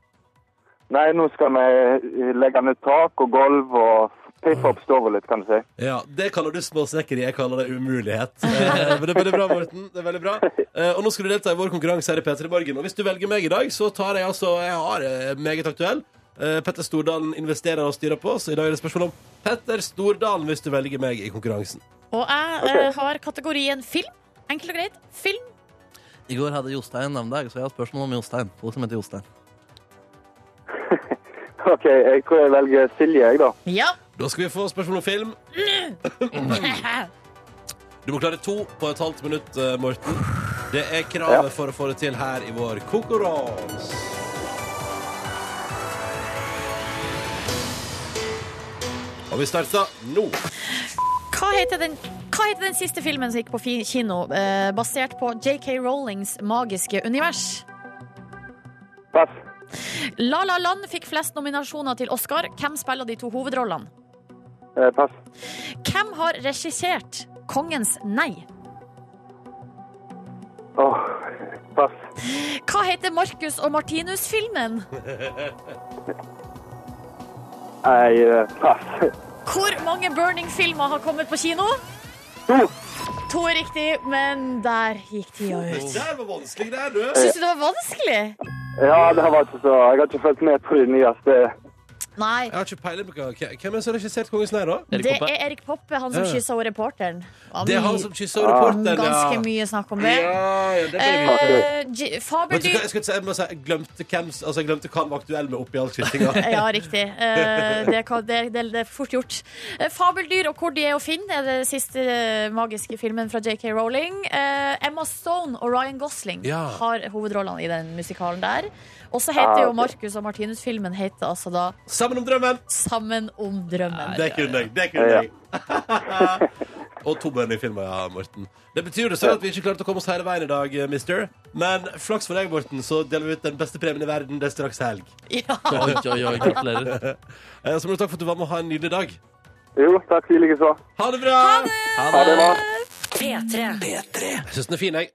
Speaker 10: Nei, nå skal vi eh, legge ned tak og gulv og piffe opp stua litt, kan du si.
Speaker 2: Ja, Det kaller du småsnekkeri. Jeg kaller det umulighet. Eh, men det er veldig bra, Morten. Det er veldig bra. Eh, og nå skal du delta i vår konkurranse her i P3 Morgen. Og hvis du velger meg i dag, så tar jeg altså Jeg har eh, meget aktuell. Eh, Petter Stordalen investerer og styrer på, så i dag er det spørsmål om Petter Stordalen hvis du velger meg i konkurransen.
Speaker 3: Og jeg eh, har kategorien film. Enkelt og greit. Film.
Speaker 4: I går hadde Jostein navnedag, så jeg har spørsmål om Jostein. Folk som heter Jostein.
Speaker 10: OK, jeg tror jeg velger Silje, jeg, da.
Speaker 3: Ja.
Speaker 2: Da skal vi få spørsmål om film. Du må klare to på et halvt minutt, eh, Morten. Det er kravet for å få det til her i vår konkurranse. Og vi starter nå.
Speaker 3: Hva heter, den, hva heter den siste filmen som gikk på fi- kino, eh, basert på JK Rowlings magiske univers?
Speaker 10: Pass.
Speaker 3: La La Land fikk flest nominasjoner til Oscar. Hvem spiller de to hovedrollene?
Speaker 10: Eh, pass.
Speaker 3: Hvem har regissert Kongens nei?
Speaker 10: Åh, pass.
Speaker 3: Hva heter Marcus og Martinus-filmen?
Speaker 10: Nei, eh, pass.
Speaker 3: Hvor mange Burning-filmer har kommet på kino? To er riktig, men der gikk tida ut.
Speaker 2: Det var vanskelig, det, du.
Speaker 3: Syns du det var vanskelig?
Speaker 10: Ja, det var ikke så Jeg har ikke fulgt med på de nyeste.
Speaker 3: Nei.
Speaker 2: Jeg har ikke peiling på hva Hvem er det som har regissert Kongens nei, da?
Speaker 3: Det er Erik Poppe, han som
Speaker 2: Ja.
Speaker 3: kyssa reporteren. Ja,
Speaker 2: Det er han
Speaker 3: mye-
Speaker 2: som kyssa reporteren,
Speaker 3: Mm. Ganske mye snakk om det.
Speaker 2: Ja, ja, det kan jeg vite.
Speaker 3: Eh, G-
Speaker 2: Vet du hva,
Speaker 3: Fabeldyr
Speaker 2: jeg, skulle si, jeg, må si, jeg glemte hvem s- altså, jeg glemte hva han var aktuell med oppi all skytinga.
Speaker 3: ja, riktig. Eh, det, kan, det, det, det er fort gjort. Eh, Fabeldyr og hvor de er å finne er den siste eh, magiske filmen fra JK Rowling. Eh, Emma Stone og Ryan Gosling
Speaker 2: Ja.
Speaker 3: har hovedrollene i den musikalen der. Og så heter
Speaker 10: Ah,
Speaker 3: jo
Speaker 10: ok.
Speaker 3: Marcus og Martinus-filmen heter altså da
Speaker 2: Sammen om drømmen!
Speaker 3: Sammen om drømmen.
Speaker 2: Det kunne jeg. Det kunne
Speaker 10: Ja.
Speaker 2: jeg. Og to bønder i filmen, ja, Morten. Det betyr jo dessverre at vi ikke klarte å komme oss hele veien i dag, eh, mister. Men flaks for deg, Morten, så deler vi ut den beste premien i verden. Det er straks helg.
Speaker 3: Ja.
Speaker 4: Oi, oi, oi, gratulerer.
Speaker 2: Eh, Så må du takk for at du var med og ha en nydelig dag.
Speaker 10: Jo, takk i like så.
Speaker 2: Ha det bra!
Speaker 10: Ha det bra.
Speaker 1: P3.
Speaker 2: Jeg syns den er fin, jeg.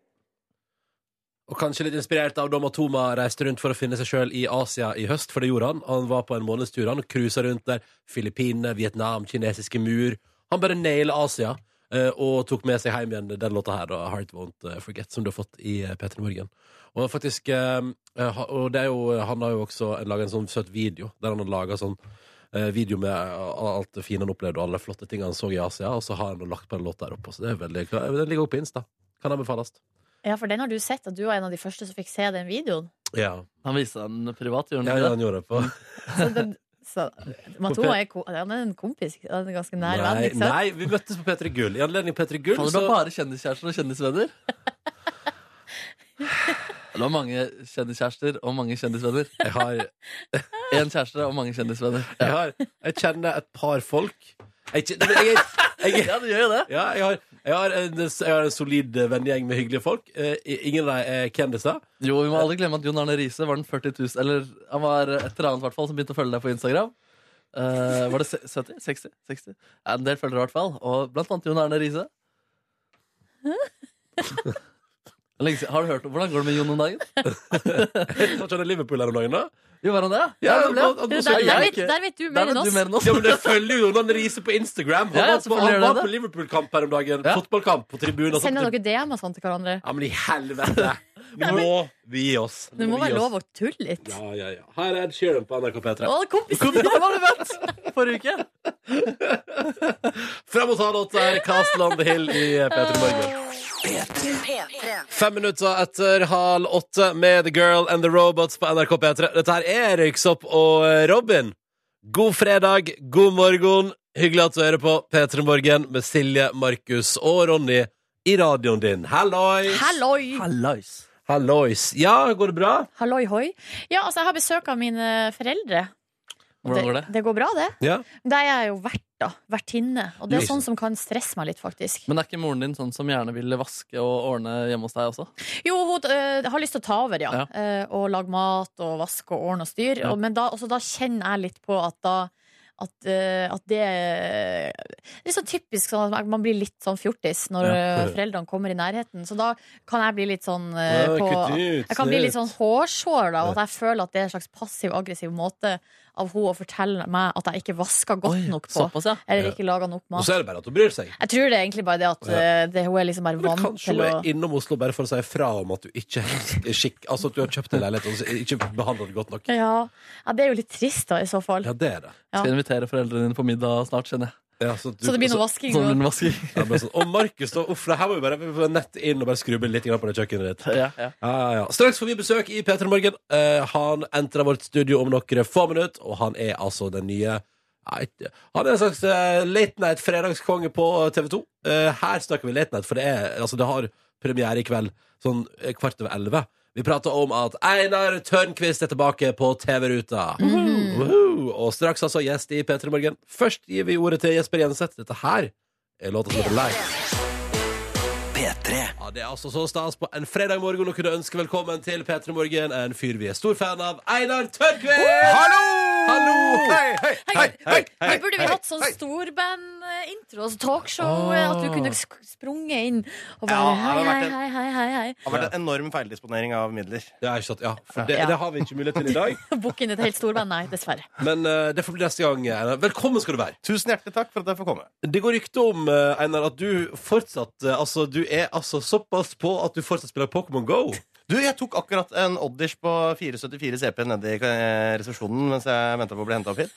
Speaker 2: Og kanskje litt inspirert av Dom Atoma reiste rundt for å finne seg sjøl i Asia i høst, for det gjorde han. Han var på en månedstur. Han cruisa rundt der. Filippinene, Vietnam, kinesiske mur. Han bare naila Asia. eh, Og tok med seg hjem igjen den låta her, da, 'Heart Won't eh, Forget', som du har fått i eh, P3 Morgen. Og faktisk eh, eh, ha- Og det er jo Han har jo også laga en sånn søt video, der han har laga sånn eh, video med eh, alt det fine han opplevde, og alle flotte ting han så i Asia, og så har han lagt på en låt der oppe. Så det er veldig Den ligger oppe på Insta. Kan anbefales.
Speaker 3: ja, for den har du sett, og du var en av de første som fikk se den videoen.
Speaker 2: Ja.
Speaker 4: Han viste den privat, gjorde
Speaker 2: ja,
Speaker 4: han
Speaker 2: ja,
Speaker 4: ikke det?
Speaker 2: han gjorde det på
Speaker 3: Så den, så, Matoma er, ko- han er en kompis. Han er en ganske nær venn,
Speaker 2: nei,
Speaker 3: ikke sant?
Speaker 2: nei, vi møttes på P3 Gull. I anledning P3 Gull
Speaker 4: Faen, det
Speaker 2: så
Speaker 4: var bare kjendiskjærester og kjendisvenner. Det var mange kjendiskjærester og mange kjendisvenner.
Speaker 2: jeg har,
Speaker 4: Én kjæreste og mange kjendisvenner.
Speaker 2: jeg har Jeg kjenner et par folk. Jeg, kjen- Nei, men jeg, jeg, jeg,
Speaker 4: Ja, det gjør jo det.
Speaker 2: ja, jeg, har, jeg, har en, jeg har en solid eh, vennegjeng med hyggelige folk. Eh, ingen av dem er kjendiser.
Speaker 4: Jo, Vi må aldri glemme at Jon Arne Riise var den 40 000 Eller han var et eller annet hvertfall, som begynte å følge deg på Instagram. Eh, var det se- 70? 60? 60? Ja, en del følgere, i hvert fall. Og blant annet Jon Arne Riise. Lenge siden. Har du hørt om Hvordan går det med Jon om dagen? Var
Speaker 2: ikke han i Liverpool her om dagen, da?
Speaker 4: Jo, var han det?
Speaker 2: Ja,
Speaker 4: det ble han.
Speaker 3: Du, der, der, vet, der vet du mer enn oss.
Speaker 2: Ja, men det følger jo Jonan Riise på Instagram. Han
Speaker 4: Ja, ja,
Speaker 2: var på,
Speaker 4: selvfølgelig
Speaker 2: han
Speaker 4: gjør det
Speaker 2: var
Speaker 4: det.
Speaker 2: på Liverpool-kamp her om dagen. Fotballkamp på tribunen. og sånt.
Speaker 3: Sender dere DM og sånn til hverandre?
Speaker 2: Ja, men i helvete! Nå må vi gi oss.
Speaker 3: Det må
Speaker 2: vi gi
Speaker 3: være
Speaker 2: oss.
Speaker 3: lov å tulle litt.
Speaker 2: Ja, ja, ja. Her er Ed Sheeran på NRK P3.
Speaker 3: Å, kompis!
Speaker 4: Forrige uke.
Speaker 2: Fram mot halv åtte er Castle on the Hill i P3 Morgen. Fem minutter etter halv åtte med The Girl and the Robots på NRK P3. Dette her er Røyksopp og Robin. God fredag, god morgen. Hyggelig at du hører på P3 Morgen med Silje, Markus og Ronny i radioen din. Hallois!
Speaker 3: Halloi!
Speaker 4: Hallois.
Speaker 2: Hallois. Ja, går det bra?
Speaker 3: Halloi hoi. Ja, altså, jeg har besøk av mine foreldre. Og
Speaker 4: Hvordan går det?
Speaker 3: Det går bra, det.
Speaker 2: Ja.
Speaker 3: Det er jeg jo vert, da. Vertinne. Og det er
Speaker 4: Lysen.
Speaker 3: sånn som kan stresse meg litt, faktisk.
Speaker 4: Men er ikke moren din sånn som gjerne vil vaske og ordne hjemme hos deg også?
Speaker 3: Jo, hun øh, har lyst til å ta over, ja.
Speaker 4: Ja.
Speaker 3: Eh, og lage mat og vaske og ordne og styr.
Speaker 4: Ja.
Speaker 3: Og, men da, også da kjenner jeg litt på at da at, eh, at det Det er sånn typisk sånn at man blir litt sånn fjortis når
Speaker 2: Ja.
Speaker 3: eh, foreldrene kommer i nærheten. Så da kan jeg bli litt sånn eh,
Speaker 2: Ja,
Speaker 3: på,
Speaker 2: kutt ut,
Speaker 3: Jeg kan bli litt
Speaker 2: snilt.
Speaker 3: sånn hårsår, da. Og at jeg føler at det er en slags passiv-aggressiv måte av hun å fortelle meg at jeg ikke vasker godt nok på.
Speaker 4: såpass, ja.
Speaker 3: Eller
Speaker 2: Ja.
Speaker 3: ikke laga nok
Speaker 2: Og
Speaker 3: mat.
Speaker 2: så er det bare at hun bryr seg.
Speaker 3: Jeg tror det er egentlig bare det at
Speaker 2: Ja.
Speaker 3: eh, det, hun er liksom bare
Speaker 2: Men
Speaker 3: vant
Speaker 2: kanskje
Speaker 3: til
Speaker 2: hun
Speaker 3: å
Speaker 2: er innom Oslo bare for å si fra om at du ikke er skikk... Altså at du har kjøpt en leilighet og så ikke behandlet det godt nok.
Speaker 3: ja. ja, det er jo litt trist da, i så fall.
Speaker 2: Ja, det er det.
Speaker 3: Ja.
Speaker 4: Skal invitere foreldrene dine på middag snart, kjenner jeg.
Speaker 2: Ja, så, du,
Speaker 3: Så det blir noe
Speaker 2: altså,
Speaker 3: vasking.
Speaker 4: Sånn
Speaker 3: og-
Speaker 4: blir det vasking.
Speaker 2: ja, men sånn, Og Markus, da. Uff, det her må vi bare vi får nett inn og bare skrubbe litt grann på det kjøkkenet ditt.
Speaker 4: Ja, ja.
Speaker 2: Ja, ja, ja. Straks får vi besøk i P3 Morgen. Eh, han entrer vårt studio om noen få minutter, og han er altså den nye ja, ikke- han er en slags eh, late night fredagskonge på eh, TV 2. her snakker vi late night, for det, er, altså, det har premiere i kveld sånn eh, kvart over elleve. Vi prater om at Einar Tørnquist er tilbake på TV-ruta. Woohoo! Og straks altså gjest i P3 Morgen. Først gir vi ordet til Jesper Jenseth. Dette her er låta som heter Live. Ja, Det er altså så stas på en fredag morgen å kunne ønske velkommen til P3 Morgen, en fyr vi er stor fan av, Einar Tørnquist!
Speaker 11: Hallo!
Speaker 2: Hallo!
Speaker 11: Hei, hei, hei, hei, hei,
Speaker 3: Her burde vi hatt sånn storband-intro, altså talkshow,
Speaker 2: Ah.
Speaker 3: at du kunne sk- sprunget inn og bare
Speaker 11: Ja, det
Speaker 3: hei,
Speaker 11: hadde vært
Speaker 3: hei,
Speaker 11: en-
Speaker 3: hei, hei, hei, hei.
Speaker 11: Det har vært en enorm feildisponering av midler.
Speaker 2: Det er ikke sant, ja, for det,
Speaker 3: Ja.
Speaker 2: det har vi ikke mulighet til i dag,
Speaker 3: Booke inn et helt storband? Nei, dessverre.
Speaker 2: men eh, det får bli neste gang. Einar. Velkommen skal du være.
Speaker 11: Tusen hjertelig takk for at jeg får komme.
Speaker 2: Det går rykte om, eh, Einar, at du fortsatt, eh, altså du er altså såpass på at du fortsatt spiller Pokémon GO.
Speaker 11: Du, Jeg tok akkurat en oddish på 474 CP nede i eh, resepsjonen mens jeg venta på å bli henta opp hit.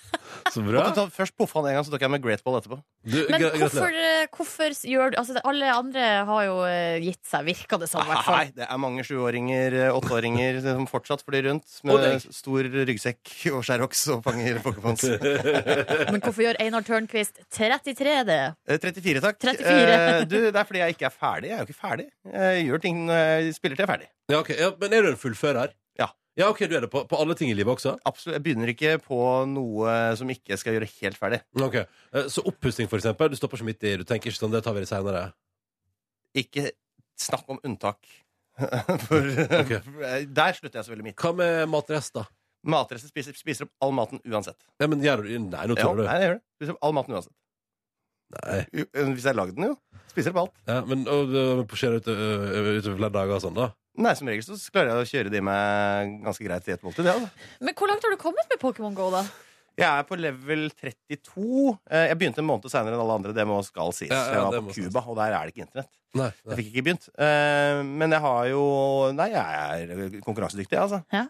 Speaker 2: Så
Speaker 11: Måtte ta- Først poffa han en gang, så tok jeg med Great Ball etterpå.
Speaker 2: Du,
Speaker 3: Men
Speaker 2: gra-
Speaker 3: hvorfor,
Speaker 2: gratulerer.
Speaker 3: eh, hvorfor s- gjør du Altså, det- alle andre har jo eh, gitt seg, virker det som, i hvert fall.
Speaker 11: Nei, det er mange sjuåringer, eh, åtteåringer som fortsatt flyr rundt
Speaker 2: Og
Speaker 11: med
Speaker 2: deg.
Speaker 11: stor ryggsekk og skjæroks og fanger pokémons. Eh,
Speaker 3: Men hvorfor gjør Einar Tørnquist 33 det?
Speaker 11: 34, Eh, takk.
Speaker 3: 34.
Speaker 11: Eh, Du, det er fordi jeg ikke er ferdig. Jeg er jo ikke ferdig. Jeg gjør ting når jeg spiller til jeg er ferdig.
Speaker 2: Ja, ok, ja, men er du en fullfører?
Speaker 11: Ja.
Speaker 2: Ja, ok, du er det på, på alle ting i livet også?
Speaker 11: Absolutt, Jeg begynner ikke på noe som ikke jeg skal gjøre helt ferdig.
Speaker 2: Ok, eh, så opphusting for eksempel, du stopper ikke midt i, du tenker ikke sånn, det tar vi det senere.
Speaker 11: Ikke snakk om unntak. For eh,
Speaker 2: Ok.
Speaker 11: der slutter jeg så veldig midt.
Speaker 2: Hva med matrest da?
Speaker 11: Matrester spiser, spiser opp all maten uansett.
Speaker 2: Ja, men gjør du Nei, nå
Speaker 11: Ja,
Speaker 2: tuller du.
Speaker 11: nei, det gjør det. Spiser opp all maten uansett.
Speaker 2: Nei.
Speaker 11: U eh, hvis jeg har lagd den, jo. Spiser opp alt.
Speaker 2: Ja, men og, og, posjere ute, ø, utover eh, flere dager og sånn, da?
Speaker 11: Nei, som regel så klarer jeg å kjøre det i meg ganske greit i et måltid. Ja. da.
Speaker 3: Men hvor langt har du kommet med Pokémon GO, da?
Speaker 11: Jeg er på level 32. Eh, Jeg begynte en måned seinere enn alle andre. Det må skal sies.
Speaker 2: Ja, ja,
Speaker 11: jeg
Speaker 2: det
Speaker 11: var
Speaker 2: må
Speaker 11: på
Speaker 2: sies.
Speaker 11: Cuba, og der er det ikke internett.
Speaker 2: Nei.
Speaker 11: Jeg
Speaker 2: nei.
Speaker 11: fikk ikke begynt. Eh, Men jeg har jo Nei, jeg er konkurransedyktig, jeg, altså.
Speaker 3: Ja.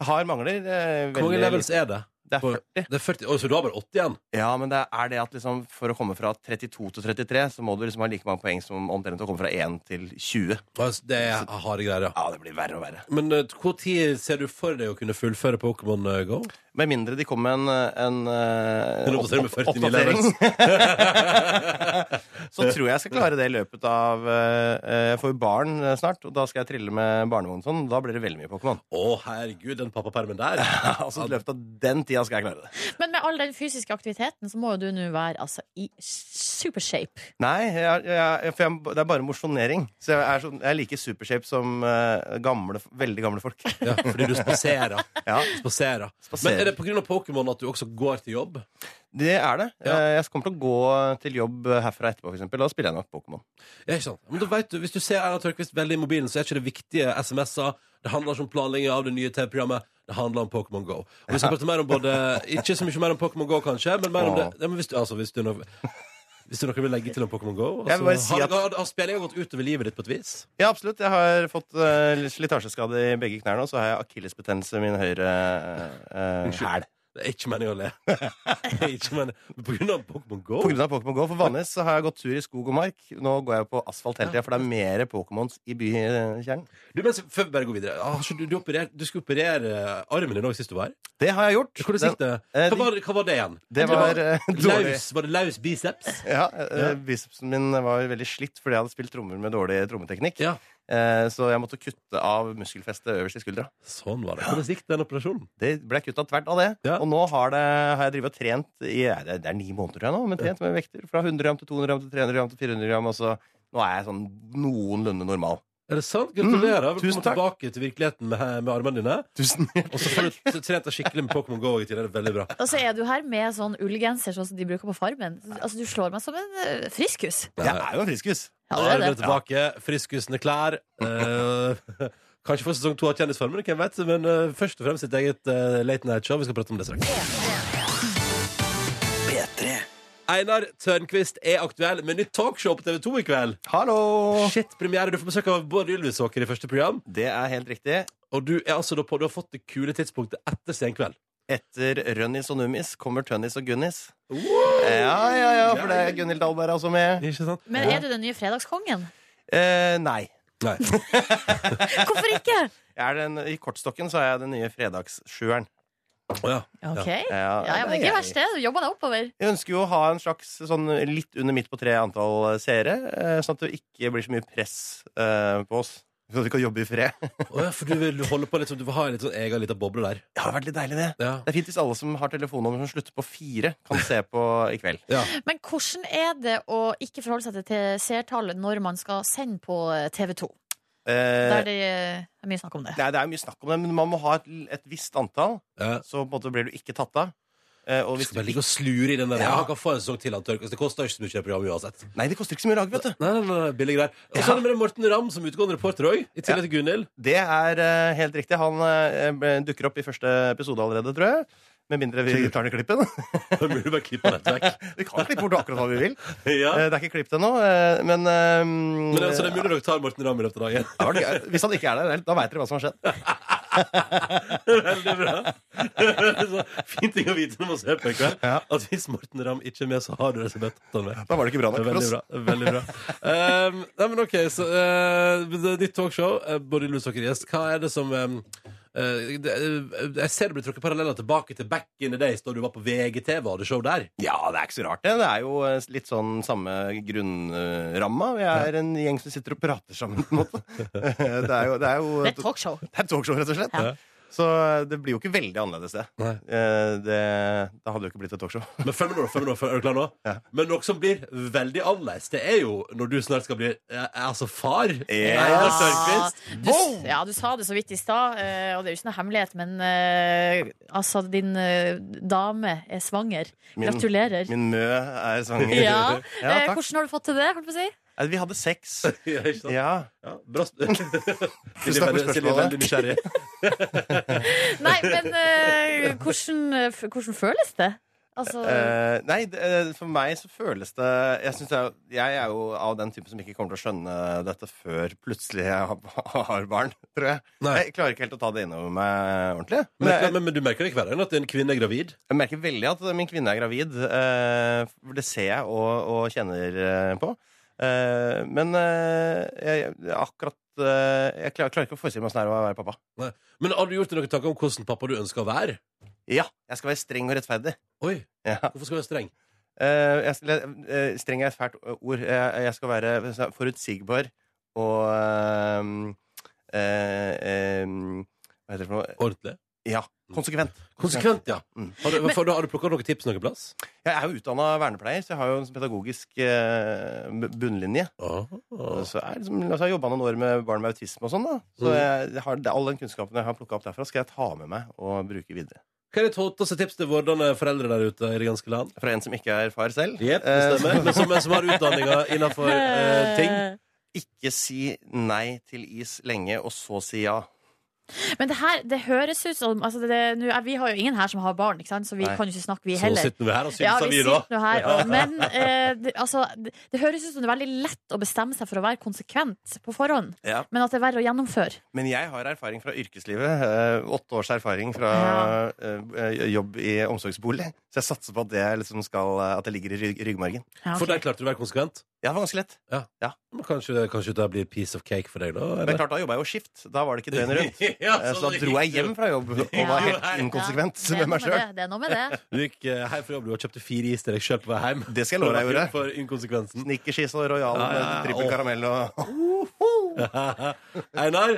Speaker 11: Jeg Har mangler. eh,
Speaker 2: Hvor mange
Speaker 11: veldig
Speaker 2: levels er det?
Speaker 11: lite. Det er
Speaker 2: På-
Speaker 11: 40.
Speaker 2: Det er 40. Oi, så du har bare 80 igjen?
Speaker 11: Ja, men det er det at liksom for å komme fra 32 til 33, så må du liksom ha like mange poeng som omtrent å komme fra 1 til 20.
Speaker 2: Oi, så Det er harde greier, ja.
Speaker 11: Ja, det blir verre og verre.
Speaker 2: Men ø, hvor tid ser du for deg å kunne fullføre Pokémon ø, Go?
Speaker 11: Med mindre de kommer med en, en eh,
Speaker 2: En oppdatering med
Speaker 11: opp-
Speaker 2: 49
Speaker 11: så tror jeg jeg skal klare det i løpet av eh, Jeg får jo barn eh, snart, og da skal jeg trille med barnevogn og sånn. Da blir det veldig mye Pokémon.
Speaker 2: Å, herregud, den pappapermen der.
Speaker 11: altså, I løpet av den tida tida skal jeg klare det.
Speaker 3: Men med all den fysiske aktiviteten så må jo du nå være altså, i supershape.
Speaker 11: Nei, jeg, jeg, for jeg, det er bare mosjonering. Så jeg er, sånn- jeg er like supershape som eh, gamle, veldig gamle folk.
Speaker 2: Ja, fordi du spaserer.
Speaker 11: ja.
Speaker 2: spaserer. Men er det pga. Pokémon at du også går til jobb?
Speaker 11: Det er det. Eh, Jeg kommer til å gå til jobb eh, herfra etterpå, f.eks. Da spiller jeg nok Pokémon.
Speaker 2: Ja, ikke sant? Men da vet du, Hvis du ser Erna Tørkvist veldig i mobilen, så er ikke det viktige SMS-er. Det handler ikke om planlegging av det nye TV-programmet. Det handler om Pokémon GO. Og vi skal
Speaker 11: Ja.
Speaker 2: prate mer om både Ikke så mye mer om Pokémon GO, kanskje, men mer om det
Speaker 11: Åh.
Speaker 2: ja, men hvis, du- altså, hvis, du, nå- hvis du noe vil legge til om Pokémon GO
Speaker 11: Jeg
Speaker 2: altså,
Speaker 11: vil bare si
Speaker 2: har,
Speaker 11: at-
Speaker 2: har, har spillinga gått utover livet ditt på et vis?
Speaker 11: Ja, absolutt. Jeg har fått eh, litt slitasjeskade i begge knærne, og så har jeg akillesbetennelse i min høyre eh,
Speaker 2: Unnskyld.
Speaker 11: hæl.
Speaker 2: Det er ikke meningen å le. Det er ikke meningen. Men På grunn av Pokémon GO?
Speaker 11: På grunn av Pokémon GO. For vanligvis så har jeg gått tur i skog og mark. Nå går jeg på asfalt hele tida, for det er mer Pokémons i bykjernen.
Speaker 2: Du, mens, før vi bare går videre ah, så du, du, operer, du skulle operere armen din òg sist du var her.
Speaker 11: Det har jeg gjort.
Speaker 2: Hvordan gikk det?
Speaker 11: Den- eh,
Speaker 2: Hva
Speaker 11: det-
Speaker 2: var, hva var det igjen?
Speaker 11: Det var, eh, dårlig.
Speaker 2: laus, var det laus biceps?
Speaker 11: Ja, eh,
Speaker 2: Ja.
Speaker 11: Bicepsen min var veldig slitt fordi jeg hadde spilt trommer med dårlig trommeteknikk. Eh, Så jeg måtte kutte av muskelfestet øverst i skuldra.
Speaker 2: Sånn var det. Hvordan gikk den operasjonen?
Speaker 11: Det ble kutta tvert av det. Og nå har, det, har jeg drevet og trent i ja, det det er ni måneder tror jeg nå, men trent med vekter. Fra 100 gram til 200 gram til 300 gram til 400 gram. Og så nå er jeg sånn noenlunde normal.
Speaker 2: Er det sant? Gratulerer.
Speaker 11: Mm,
Speaker 2: Velkommen
Speaker 11: tusen takk.
Speaker 2: tilbake til virkeligheten med, med armene dine.
Speaker 11: Tusen
Speaker 2: Og så får du trent deg skikkelig med Pokémon GO i tillegg. Det er Veldig bra.
Speaker 3: Og så er du her med sånn ullgenser sånn som de bruker på Farmen. Altså, du slår meg som en eh, friskus.
Speaker 11: Jeg er jo en friskus.
Speaker 3: Ja,
Speaker 2: Nå
Speaker 3: det er
Speaker 2: er det
Speaker 3: det.
Speaker 2: tilbake. Friskusende klær. Eh, kanskje for sesong to av Kjendisfarmen, hvem vet. Men eh, først og fremst sitt eget eh, Late Night Show. Vi skal prate om det straks. Einar Tørnquist er aktuell med nytt talkshow på TV 2 i kveld.
Speaker 11: Hallo!
Speaker 2: Shit, premiere. Du får besøk av Bård Ylvisåker i første program.
Speaker 11: Det er helt riktig.
Speaker 2: Og du, er altså da på, du har fått det kule tidspunktet etter Senkveld.
Speaker 11: Etter Rønnis og Nummis kommer Tønnis og Gunnis. Ja, ja, ja, for det er Gunhild Dahlberg også med.
Speaker 2: Ikke sant?
Speaker 3: Men er du den nye fredagskongen?
Speaker 11: Eh, nei.
Speaker 3: Hvorfor ikke?
Speaker 11: Jeg er den, I kortstokken så er jeg den nye fredagssjueren.
Speaker 2: ja.
Speaker 3: Ok. Ja, ja, men det er ikke verst, det. Du jobber deg oppover.
Speaker 11: Jeg ønsker jo å ha en slags sånn litt under midt på tre antall seere, eh, sånn at det ikke blir så mye press eh, på oss. Sånn at vi kan jobbe i fred.
Speaker 2: Å ja, for du vil holde på litt sånn, du vil ha en litt sånn egen liten boble der.
Speaker 11: Det har vært litt deilig, det.
Speaker 2: Ja.
Speaker 11: Det er fint hvis alle som har telefonnummer som slutter på fire, kan se på i kveld.
Speaker 3: Men hvordan er det å ikke forholde seg til seertall når man skal sende på eh, TV 2? Der
Speaker 11: Eh,
Speaker 3: det er mye snakk om det.
Speaker 11: Nei, det er mye snakk om det, men man må ha et, et visst antall, så på en måte blir du ikke tatt av. Eh, og hvis
Speaker 2: Skal bare ligge og slure i den der. Ja. Han kan få en sesong til, han tørker. Så Det koster ikke så mye det programmet uansett.
Speaker 11: Nei, det koster ikke så mye å lage, vet du.
Speaker 2: Nei, nei, nei, billig greier. Og så er det med Morten Ramm som utgående reporter òg, i tillegg til Gunhild.
Speaker 11: Det er eh, helt riktig. Han eh, ble- dukker opp i første episode allerede, tror jeg. Med mindre vi tar ned klippen.
Speaker 2: Da blir du bare klippe rett vekk.
Speaker 11: Vi kan klippe bort akkurat hva vi vil.
Speaker 2: Ja.
Speaker 11: Eh, Det er ikke klippet ennå, eh, men eh,
Speaker 2: Men altså, det er mulig dere tar Morten Ramm i løpet av dagen.
Speaker 11: det var det gøy. Hvis han ikke er der, vel, da veit dere hva som har skjedd.
Speaker 2: Veldig bra. Så, fin ting å vite når man ser på i kveld. At hvis Morten Ramm ikke er med, så har du det som bedt. Da
Speaker 11: var det ikke bra nok for
Speaker 2: Veldig
Speaker 11: oss.
Speaker 2: bra. Veldig bra. Ehm, nei, men OK, så eh, det er ditt talkshow, eh, Både Lus og Gjest, hva er det som eh, eh, det, eh, Jeg ser det blir trukket paralleller tilbake til back in the days da du var på VGTV og hadde show der.
Speaker 11: Ja, det er ikke så rart, det. Det er jo eh, litt sånn samme grunnramma. Vi er en gjeng som sitter og prater sammen, på en måte. Eh, Det er jo, det er jo
Speaker 3: Det er et talkshow.
Speaker 11: Det er et talkshow, rett og slett. Så eh, det blir jo ikke veldig annerledes, det. Eh, det da hadde det jo ikke blitt et talkshow.
Speaker 2: Men følg med nå, følg med nå, følg- er du klar nå? Men noe som blir veldig annerledes, det er jo når du snart skal bli eh, altså far. Einar Tørnquist.
Speaker 3: Du, s- ja, du sa det så vidt i stad, eh, og det er jo ikke noe hemmelighet, men eh, altså, din eh, dame er svanger.
Speaker 11: Min-
Speaker 3: Gratulerer.
Speaker 11: Min mø er svanger.
Speaker 3: Ja.
Speaker 11: Ja,
Speaker 3: Eh,
Speaker 11: takk.
Speaker 3: Hvordan har du fått til det? holdt på å si?
Speaker 11: Eh, Vi hadde sex.
Speaker 2: ja, ikke sant?
Speaker 11: Ja.
Speaker 2: bra
Speaker 11: Tusen takk for
Speaker 2: Silje er veldig nysgjerrig.
Speaker 3: Nei, men eh, hvordan, eh, f- hvordan føles det? Altså,
Speaker 11: Eh, nei, det, eh, for meg så føles det jeg, synes jeg, jeg er jo av den typen som ikke kommer til å skjønne dette før plutselig jeg har- har barn, tror jeg. Jeg klarer ikke helt å ta det innover meg ordentlig.
Speaker 2: Men, men, men du merker det ikke hver dag at en kvinne er gravid?
Speaker 11: Jeg merker veldig at min kvinne er gravid. eh, for det ser jeg og, og kjenner eh, på. Eh, men eh, jeg, jeg- akkurat eh, Jeg klarer, klarer ikke å forestille meg hvordan det er å være pappa.
Speaker 2: Nei. Men har du gjort deg noen tanker om hvordan pappa du ønsker å være?
Speaker 11: Ja, jeg skal være streng og rettferdig.
Speaker 2: Oi,
Speaker 11: Ja.
Speaker 2: Hvorfor skal du være streng?
Speaker 11: Eh, jeg, skal- eh, streng er et fælt ord. Eh, Jeg, jeg skal være forutsigbar og eh, eh, eh, Hva heter det for noe?
Speaker 2: Ordentlig?
Speaker 11: Ja. Konsekvent.
Speaker 2: Konsekvent, ja.
Speaker 11: Mm.
Speaker 2: Har du, for, da har du plukka noen tips noen plass?
Speaker 11: Jeg er jo utdanna vernepleier, så jeg har jo en pedagogisk eh, bu- bunnlinje. Så jeg, liksom, altså, jeg har jobba noen år med barn med autisme og sånn, da.
Speaker 2: Mm.
Speaker 11: Så jeg, jeg har, det- all den kunnskapen jeg har plukka opp derfra, skal jeg ta med meg og bruke videre.
Speaker 2: Hva er ditt hotteste tips til vordende foreldre der ute i det ganske land?
Speaker 11: Fra en som ikke er far selv? eh,
Speaker 2: Jepp, det stemmer. Men som, som har eh, utdanninga innafor
Speaker 3: eh,
Speaker 2: ting.
Speaker 11: Ikke si nei til is lenge, og så si ja.
Speaker 3: Men det her, det høres ut som altså det, det, nå er- Vi har jo ingen her som har barn, ikke sant? så vi
Speaker 11: Nei.
Speaker 3: kan jo ikke snakke, vi Eh,
Speaker 11: Så
Speaker 3: heller.
Speaker 11: sitter vi her og synser,
Speaker 3: ja,
Speaker 11: vi
Speaker 3: vi
Speaker 11: da.
Speaker 3: sitter nå her.
Speaker 11: Ja.
Speaker 3: og- Men eh, det, altså, det, det høres ut som det er veldig lett å bestemme seg for å være konsekvent på forhånd,
Speaker 11: Ja.
Speaker 3: men at det er verre å gjennomføre.
Speaker 11: Men jeg har erfaring fra yrkeslivet. eh, åtte års erfaring fra eh, jobb i omsorgsbolig. Så jeg satser på at det, liksom skal, at det ligger i rygg, ryggmargen.
Speaker 3: Ja, ok.
Speaker 2: For der klarte du å være konsekvent?
Speaker 11: Ja, det var ganske lett.
Speaker 2: Ja. Men kanskje, det- kanskje det blir piece of cake for deg, da?
Speaker 11: Men klart, da jobba jeg jo skift. Da var det ikke døgnet rundt.
Speaker 2: Ja,
Speaker 11: Eh,
Speaker 2: så
Speaker 11: så da
Speaker 2: det
Speaker 11: dro jeg
Speaker 2: gikk
Speaker 11: hjem
Speaker 2: du.
Speaker 11: fra jobb og
Speaker 2: Ja.
Speaker 11: var helt inkonsekvent
Speaker 3: Det er noe
Speaker 11: med meg
Speaker 3: med det.
Speaker 11: sjøl.
Speaker 3: det er noe med det.
Speaker 2: Du gikk eh, hjem fra jobb du og kjøpte fire is til deg sjøl på vei hjem.
Speaker 11: Det skal jeg love deg å gjøre.
Speaker 2: For inkonsekvensen.
Speaker 11: Snickerskis og Royal
Speaker 2: Ja, ja, ja.
Speaker 11: med trippel
Speaker 2: Åh.
Speaker 11: karamell og
Speaker 2: Einar,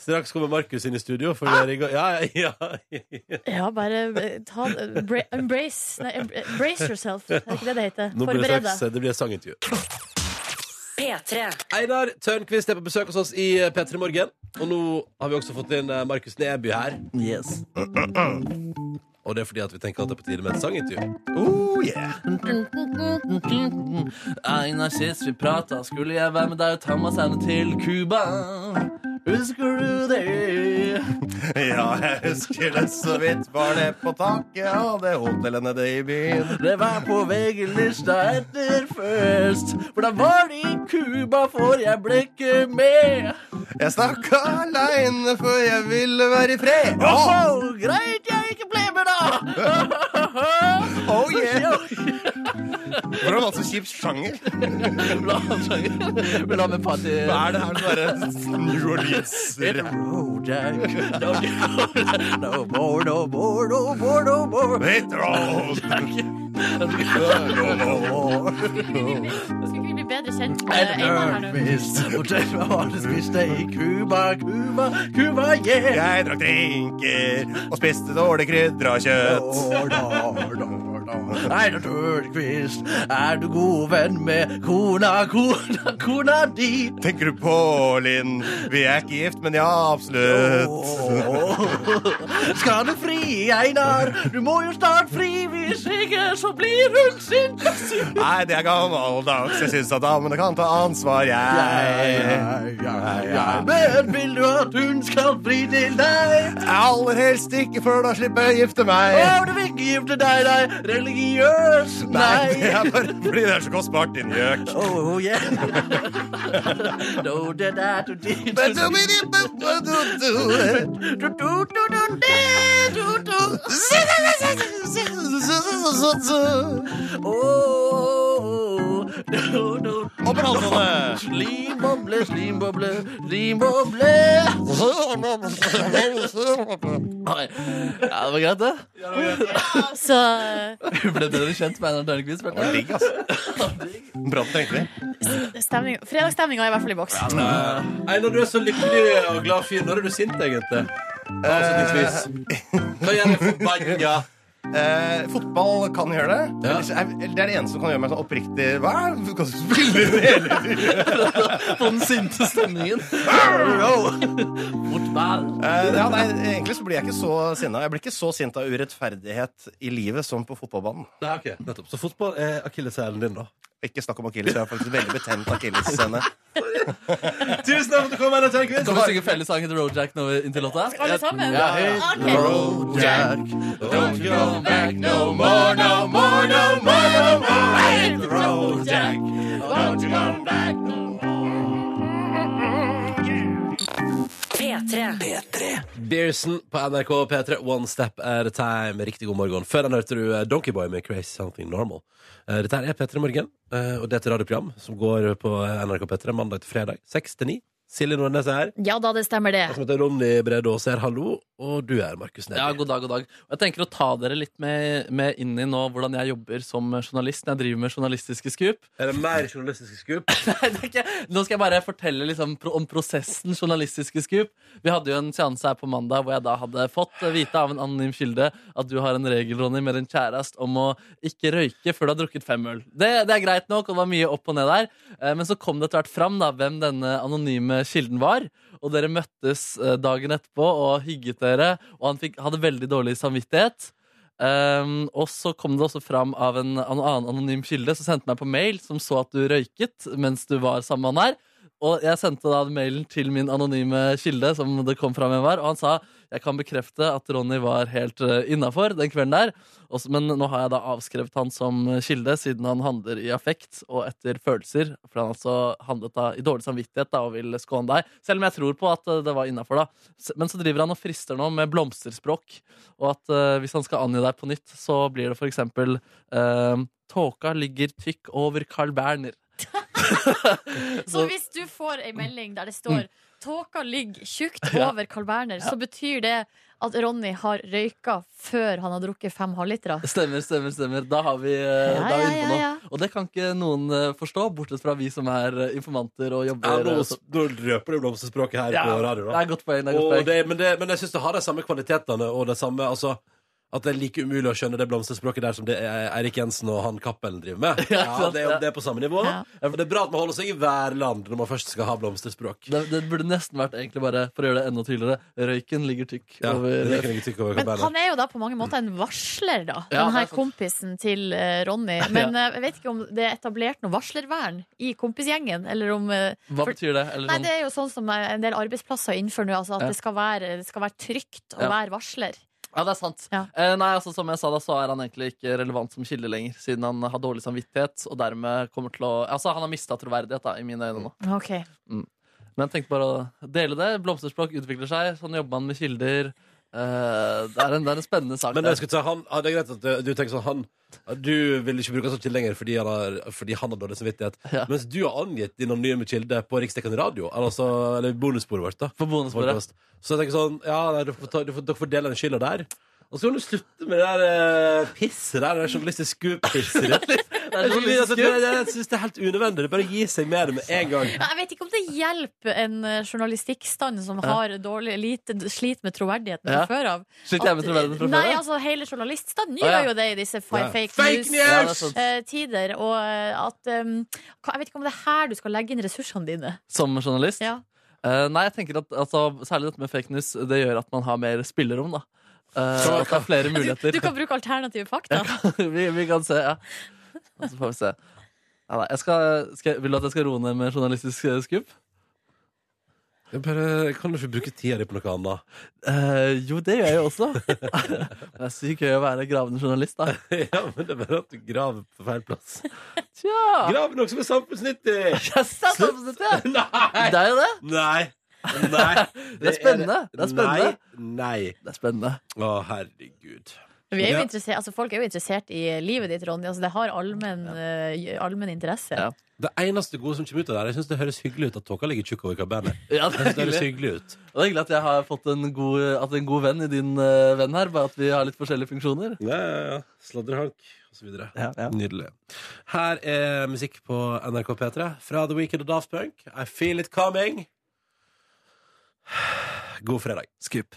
Speaker 2: straks kommer Markus inn i studio. For vi er i gang. Ja, ja, ja.
Speaker 3: Ja, bare eh, ta, bra, embrace, nei, em- eh, brace yourself. Er det ikke det det heter?
Speaker 2: Nå blir det,
Speaker 3: Forbered
Speaker 2: straks,
Speaker 3: deg.
Speaker 2: det blir et sangintervju.
Speaker 6: P3.
Speaker 2: Einar Tørnquist er på besøk hos oss i P3 Morgen. Og nå har vi også fått inn eh, Markus Neby her.
Speaker 8: Yes.
Speaker 2: Og det er fordi at vi tenker at det er på tide med et sangintervju.
Speaker 11: Oh, yeah.
Speaker 8: Einar sist vi prata, skulle jeg være med deg og ta Masserne til Cuba. Husker du det?
Speaker 11: Ja, jeg husker det så vidt. Var det på taket av det hotellet nede i byen?
Speaker 8: Det var på VG-lista etter først, for da var det i Cuba, for jeg ble ikke med.
Speaker 11: Jeg stakk aleine, for jeg ville være i fred.
Speaker 8: Oh, greit jeg ikke ble med, da!
Speaker 11: Oh, yeah. For det var så kjip sjanger.
Speaker 8: Vil du ha en sjanger? Vil du ha med party?
Speaker 11: Hva er det her med sånne New Orleans-rap?
Speaker 8: Bojack. No, no, no more, no more, no more, no more.
Speaker 11: Hit roll!
Speaker 3: Skulle ikke vi bli bedre kjent med
Speaker 8: En
Speaker 3: Einar her nå?
Speaker 8: ørnfisk. Fortell meg hva du spiste i Cuba, Cuba, Cuba, yeah!
Speaker 11: Jeg drakk drinker og spiste dårlig krydra kjøtt.
Speaker 8: År, år, år, år. Einar Tørnquist, er du god venn med kona, kona, kona di?
Speaker 11: Tenker du på Linn? Vi er ikke gift, men ja, absolutt.
Speaker 8: Skal du fri, Einar? Du må jo snart fri, hvis ikke så blir hun sint.
Speaker 11: Nei, det er gammeldags. Jeg syns at damene kan ta ansvar, jeg.
Speaker 8: Men vil du at hun skal fri til deg?
Speaker 11: Aller helst ikke, for da slipper jeg å gifte meg.
Speaker 8: Om du vil ikke gifte deg, nei, religiøs,
Speaker 11: Nei, det
Speaker 8: nei.
Speaker 11: er bare fordi det er så kostbart, din gjøk.
Speaker 8: Oh, yeah. no, det der, du, du, du,
Speaker 11: Men du,
Speaker 8: du,
Speaker 11: men du, men du, du, du.
Speaker 8: du, du, du, du, du, du, du. Oh, du, du.
Speaker 11: Opp med halsene.
Speaker 8: Slimboble, slimboble, slimboble. Oi. Ja, det var greit, det.
Speaker 3: Så
Speaker 8: Hun ble bedre kjent med Einar Tørnquist. Bjarte.
Speaker 11: Digg, altså. Bra du tenkte det.
Speaker 3: eh, stemning- fredagsstemninga er i hvert fall i boks.
Speaker 2: Eh, Einar, du er så lykkelig og glad fyr. Når er du sint, egentlig? Avslutningsvis. Hva gjør jeg forbanna?
Speaker 11: Eh, fotball kan gjøre det. Ellers er- Det er det eneste som kan gjøre meg sånn oppriktig Hva er det? Hva spiller du hele tiden?
Speaker 8: På den sinte stemningen. Fotball.
Speaker 11: Eh, ja, nei, Egentlig så blir jeg ikke så sinna. Jeg blir ikke så sint av urettferdighet i livet som på fotballbanen.
Speaker 2: Nei, ok, nettopp. Så fotball er akilleshælen din, da.
Speaker 11: Ikke snakk om akilles. Jeg har faktisk veldig betent akilleshæle.
Speaker 2: Tusen takk for at du kom, Einar Tørnquist.
Speaker 8: Skal vi synge fellessangen til Rojack nå inntil låta?
Speaker 3: Alle sammen?
Speaker 8: Ja, hei.
Speaker 3: Ok.
Speaker 8: Rojack, don't go back no more, no more, no more, no more. Hey, Rojack, don't you go back no
Speaker 6: P3.
Speaker 2: Beersen på NRK P3, One Step at a Time. Riktig god morgen. Før den hørte du eh, Donkeyboy med Crazy Something Normal. Eh, Dette her er P3 Morgen, eh, og det er et radioprogram som går på eh, NRK P3 mandag til fredag 6 til 9. Silje Nordnes er her.
Speaker 3: Ja da, det stemmer det.
Speaker 2: Jeg som heter Ronny Brede Aas er hallo. Og du er Markus Neby.
Speaker 4: Ja, god dag, god dag. Og jeg tenker å ta dere litt med, med inn i nå hvordan jeg jobber som journalist. når Jeg driver med journalistiske skup.
Speaker 2: Er det mer journalistiske skup?
Speaker 4: Nei, det er ikke. Nå skal jeg bare fortelle liksom, pro- om prosessen journalistiske skup. Vi hadde jo en seanse her på mandag hvor jeg da hadde fått eh, vite av en anonym kilde at du har en regel, Ronny, med din kjæreste om å ikke røyke før du har drukket fem øl. Det, det er greit nok, og det var mye opp og ned der. Eh, Men så kom det etter hvert fram da, hvem denne anonyme kilden var. Og dere møttes eh, dagen etterpå og hygget dere, og han fikk, hadde veldig dårlig samvittighet. Ehm, og så kom det også fram av en an- annen anonym kilde som sendte meg på mail, som så at du røyket mens du var sammen med han her. Og jeg sendte da mailen til min anonyme kilde, som det kom fram hvem var, og han sa jeg kan bekrefte at Ronny var helt eh, innafor den kvelden der. Og så- men nå har jeg da avskrevet han som kilde, siden han handler i affekt og etter følelser. For han altså handlet da i dårlig samvittighet da, og vil skåne deg. Selv om jeg tror på at eh, det var innafor, da. S- Men så driver han og frister nå med blomsterspråk. Og at eh, hvis han skal angi deg på nytt, så blir det for eksempel eh, Tåka ligger tykk over Carl Berner.
Speaker 3: Så hvis du får ei melding der det står Tåka ligger tjukt over Carl Berner, så betyr det at Ronny har røyka før han har drukket fem halvlitere.
Speaker 4: Stemmer, stemmer, stemmer. Da, har vi, eh,
Speaker 3: Ja,
Speaker 4: da er vi
Speaker 3: ja,
Speaker 4: inne på
Speaker 3: ja,
Speaker 4: noe.
Speaker 3: ja.
Speaker 4: Og det kan ikke noen eh, forstå, bortsett fra vi som er eh, informanter og
Speaker 2: Ja,
Speaker 4: jobber.
Speaker 2: nå,
Speaker 4: eh, så-
Speaker 2: nå røper du blomsterspråket her
Speaker 4: Ja,
Speaker 2: på radio. Da.
Speaker 4: det er et godt poeng, det er et godt
Speaker 2: Og
Speaker 4: poeng.
Speaker 2: det, men, det, men jeg syns det har de samme kvalitetene og det samme altså, At det er like umulig å skjønne det blomsterspråket der som det er Eirik Jensen og han Cappelen driver med.
Speaker 4: Ja,
Speaker 2: Ja,
Speaker 4: sant,
Speaker 2: det,
Speaker 4: ja.
Speaker 2: er- det er på samme nivå. Og det er bra at man holder seg i værland når man først skal ha blomsterspråk.
Speaker 4: Det, det burde nesten vært egentlig bare, for å gjøre det enda tydeligere, røyken ligger tykk
Speaker 2: Ja,
Speaker 4: over
Speaker 2: røyken ligger tykk over
Speaker 3: Men han er jo da på mange måter en varsler, da.
Speaker 4: Ja,
Speaker 3: den
Speaker 4: det er
Speaker 3: her kompisen til eh, Ronny. Men eh, jeg vet ikke om det er etablert noe varslervern i kompisgjengen, eller om eh,
Speaker 4: Hva
Speaker 3: for-
Speaker 4: betyr det? Eller
Speaker 3: Nei,
Speaker 4: sånn?
Speaker 3: det er jo sånn som eh, en del arbeidsplasser innfører nå, altså at
Speaker 4: Ja.
Speaker 3: det, skal være, det skal være trygt å
Speaker 4: Ja.
Speaker 3: være varsler.
Speaker 4: Ja, det er sant. Eh, nei, altså Som jeg sa, da så er han egentlig ikke relevant som kilde lenger, siden han har dårlig samvittighet og dermed kommer til å Altså, han har mista troverdighet, da, i mine øyne nå.
Speaker 3: Ok.
Speaker 4: Men jeg tenkte bare å dele det. Blomsterspråk utvikler seg, sånn jobber man med kilder. Eh, det, er en, det er en spennende sak.
Speaker 2: Men
Speaker 4: der.
Speaker 2: jeg skulle si, han, ja, det er greit at du- du tenker sånn han, Du vil ikke bruke han som kilde lenger fordi han har, fordi han har dårlig samvittighet. Mens du har angitt din anonyme kilde på Riksdekken radio. Eller, altså, eller bonussporet vårt. da
Speaker 4: bonussporet.
Speaker 2: Podcast. Så jeg tenker sånn Ja, nei, dere får, ta, dere får, dere får dele den skylda der. Og så kan du slutte med det der eh, pisset der. Det er journalistisk scoop-pisseriet. sånn Jeg
Speaker 4: altså.
Speaker 2: synes- jeg synes det er helt unødvendig. Det er bare å gi seg med det med en gang.
Speaker 3: Ja, Jeg vet ikke om det hjelper en eh, journalistikkstand som
Speaker 2: Ja.
Speaker 3: har dårlig, lite, sliter med troverdigheten
Speaker 4: Ja.
Speaker 3: fra før av.
Speaker 4: Sliter jeg
Speaker 3: At-
Speaker 4: med troverdigheten fra før
Speaker 3: Nei,
Speaker 4: av?
Speaker 3: altså hele journaliststanden
Speaker 4: Å, ja.
Speaker 3: gjør jo det i disse fi-
Speaker 4: Ja.
Speaker 3: fake,
Speaker 4: Fake news! Ja, det er sånn, sant.
Speaker 3: Eh, news-tider. og eh, at um, hva- Jeg vet ikke om det er her du skal legge inn ressursene dine.
Speaker 4: Som journalist? Eh, nei, jeg tenker at altså, Særlig dette med fake news Det gjør at man har mer spillerom. da Eh,
Speaker 3: Så-
Speaker 4: At det er flere muligheter.
Speaker 3: Du kan bruke alternative fakta.
Speaker 4: vi, vi kan se, ja. Og så får vi se. Ja, nei, jeg skal, skal, jeg- vil du at jeg skal roe ned med journalistisk eh, skup?
Speaker 2: Jeg bare, kan du ikke bruke tida di på noe annet?
Speaker 4: Eh, jo, det gjør jeg jo også. Men det er sykt gøy å være gravende journalist, da.
Speaker 2: ja, men det er bare at du graver på feil plass.
Speaker 4: Tja.
Speaker 2: Grav noe som er samfunnsnyttig!
Speaker 4: Det er jo det.
Speaker 2: Nei. Nei.
Speaker 4: Det er spennende. Det er spennende.
Speaker 2: Nei. Nei.
Speaker 4: Det er spennende.
Speaker 2: Å, herregud.
Speaker 3: Vi er jo
Speaker 2: Ja.
Speaker 3: interessert- altså, folk er jo interessert i livet ditt, Ronny. Altså, det har allmenn eh, allmenn interesse.
Speaker 2: Det eneste gode som kommer ut av det, her, jeg synes det høres hyggelig ut at tåka ligger tjukk over kabelen.
Speaker 4: Ja,
Speaker 2: det, det høres hyggelig ut.
Speaker 4: Og det er hyggelig at jeg har fått en god, at en god venn i din eh, venn her, bare at vi har litt forskjellige funksjoner.
Speaker 2: Ja, ja, ja. Sladrehank osv.
Speaker 4: Ja, ja.
Speaker 2: Nydelig. Her er musikk på NRK P3 fra The Weekend og Daft Punk. I feel it coming. God fredag. Skup.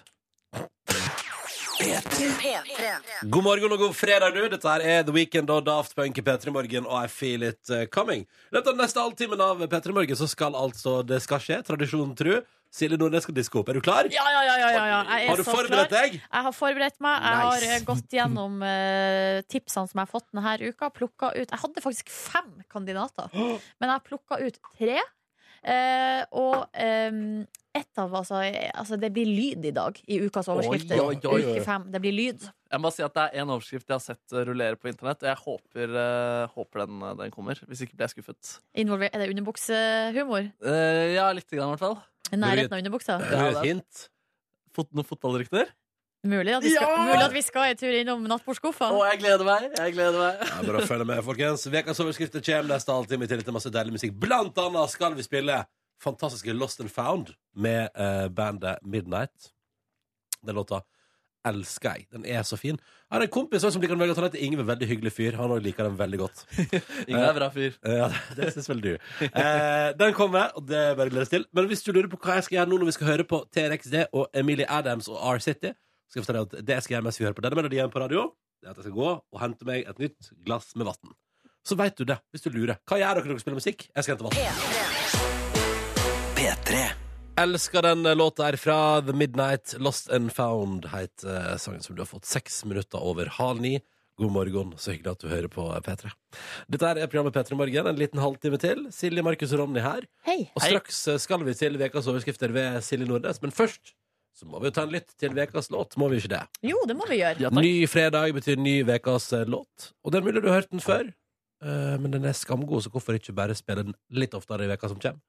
Speaker 2: God morgen og god fredag, du. Dette her er The Weekend og Daft Punk i P3 Morgen og I Feel It eh, Coming. I løpet av den neste halvtimen av P3 Morgen så skal altså det skal skje, tradisjonen tru. Silje Nordnes skal diske opp. Er du klar?
Speaker 3: Ja, ja, ja, ja, ja, ja. Jeg er
Speaker 2: Har du
Speaker 3: så
Speaker 2: forberedt
Speaker 3: klar.
Speaker 2: deg?
Speaker 3: Jeg har forberedt meg. Jeg har
Speaker 2: Nice.
Speaker 3: eh, gått gjennom eh, tipsene som jeg har fått denne uka. Plukket ut. Jeg hadde faktisk fem kandidater, men jeg har plukka ut tre. Eh, og um, ett av altså, eh, altså Det blir lyd i dag i ukas overskrifter.
Speaker 4: Oi, oi, oi, oi.
Speaker 3: Uke fem. Det blir lyd.
Speaker 4: Jeg må bare si at Det er en overskrift jeg har sett eh, rullere på internett, og jeg håper, eh, håper den, eh, den kommer. Hvis ikke blir jeg skuffet.
Speaker 3: Involver er det underbuksehumor?
Speaker 4: Eh, ja, lite grann i hvert fall.
Speaker 3: I nærheten av underbuksa?
Speaker 2: hint?
Speaker 4: Fot noen fotballrykter?
Speaker 3: Mulig at vi skal,
Speaker 4: Ja!
Speaker 3: mulig at vi skal en tur innom nattbordskuffa.
Speaker 4: Å, jeg gleder meg! Jeg gleder meg.
Speaker 2: Ja, bare følg med, folkens. Vekas overskrifter kommer neste halvtime i tillegg til masse deilig musikk. Blant annet skal vi spille fantastiske Lost and Found med eh, bandet Midnight. Den låta elsker jeg. Den er så fin. Jeg har en kompis også som liker den veldig godt. Han heter Ingve, veldig hyggelig fyr. Han også liker den veldig godt.
Speaker 4: Ingve er bra fyr.
Speaker 2: Eh, Ja, det- det syns vel du. Eh, den kommer, og det er bare å glede seg til. Men hvis du lurer på hva jeg skal gjøre nå når vi skal høre på TRXD og Emilie Adams og R-City, skal jeg fortelle deg at det jeg skal gjøre mens vi hører på denne melodien på radio, det er at jeg skal gå og hente meg et nytt glass med vann. Så veit du det, hvis du lurer. Hva gjør dere når dere spiller musikk? Jeg skal hente vann. P3. Elsker den eh, låta her fra The Midnight Lost and Found, het eh, sangen som du har fått seks minutter over halv ni. God morgen, så hyggelig at du hører på eh, P3. Dette her er programmet P3 Morgen, en liten halvtime til. Silje, Markus og Ronny her. Og straks eh, skal vi til ukas overskrifter ved Silje Nordnes, men først så må vi jo ta en lytt til ukas låt, må vi ikke det?
Speaker 3: Jo, det må vi gjøre.
Speaker 2: ny fredag betyr ny ukas eh, låt, og det er mulig du har hørt den før, eh, men den er skamgod, så hvorfor ikke bare spille den litt oftere i veka som kommer?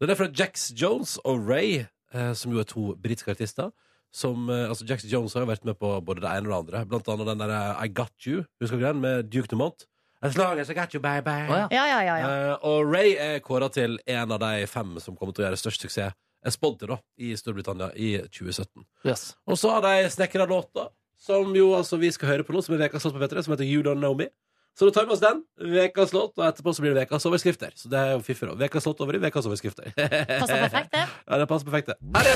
Speaker 2: Den er fra Jax Jones og Ray, eh, som jo er to britiske artister. Som, eh, altså Jax Jones har jo vært med på både det ene og det andre. Blant annet den der eh, I Got You, husker du den, med Duke Dumont? As long as I got you, baby.
Speaker 3: Ja, ja, ja, ja.
Speaker 2: Eh, og Ray er kåra til en av de fem som kommer til å gjøre størst suksess, er spådd til, da, i Storbritannia i 2017. Og så har de snekra låta, som jo altså vi skal høre på nå, som er ukas låt på P3, som heter You Don't Know Me. Så da tar vi oss den. Ukas låt, og etterpå så blir det ukas overskrifter. Så det er jo fiffig, da. Ukas låt over i ukas overskrifter.
Speaker 3: Passer perfekt, det.
Speaker 2: Ja, det passer perfekt, det. Her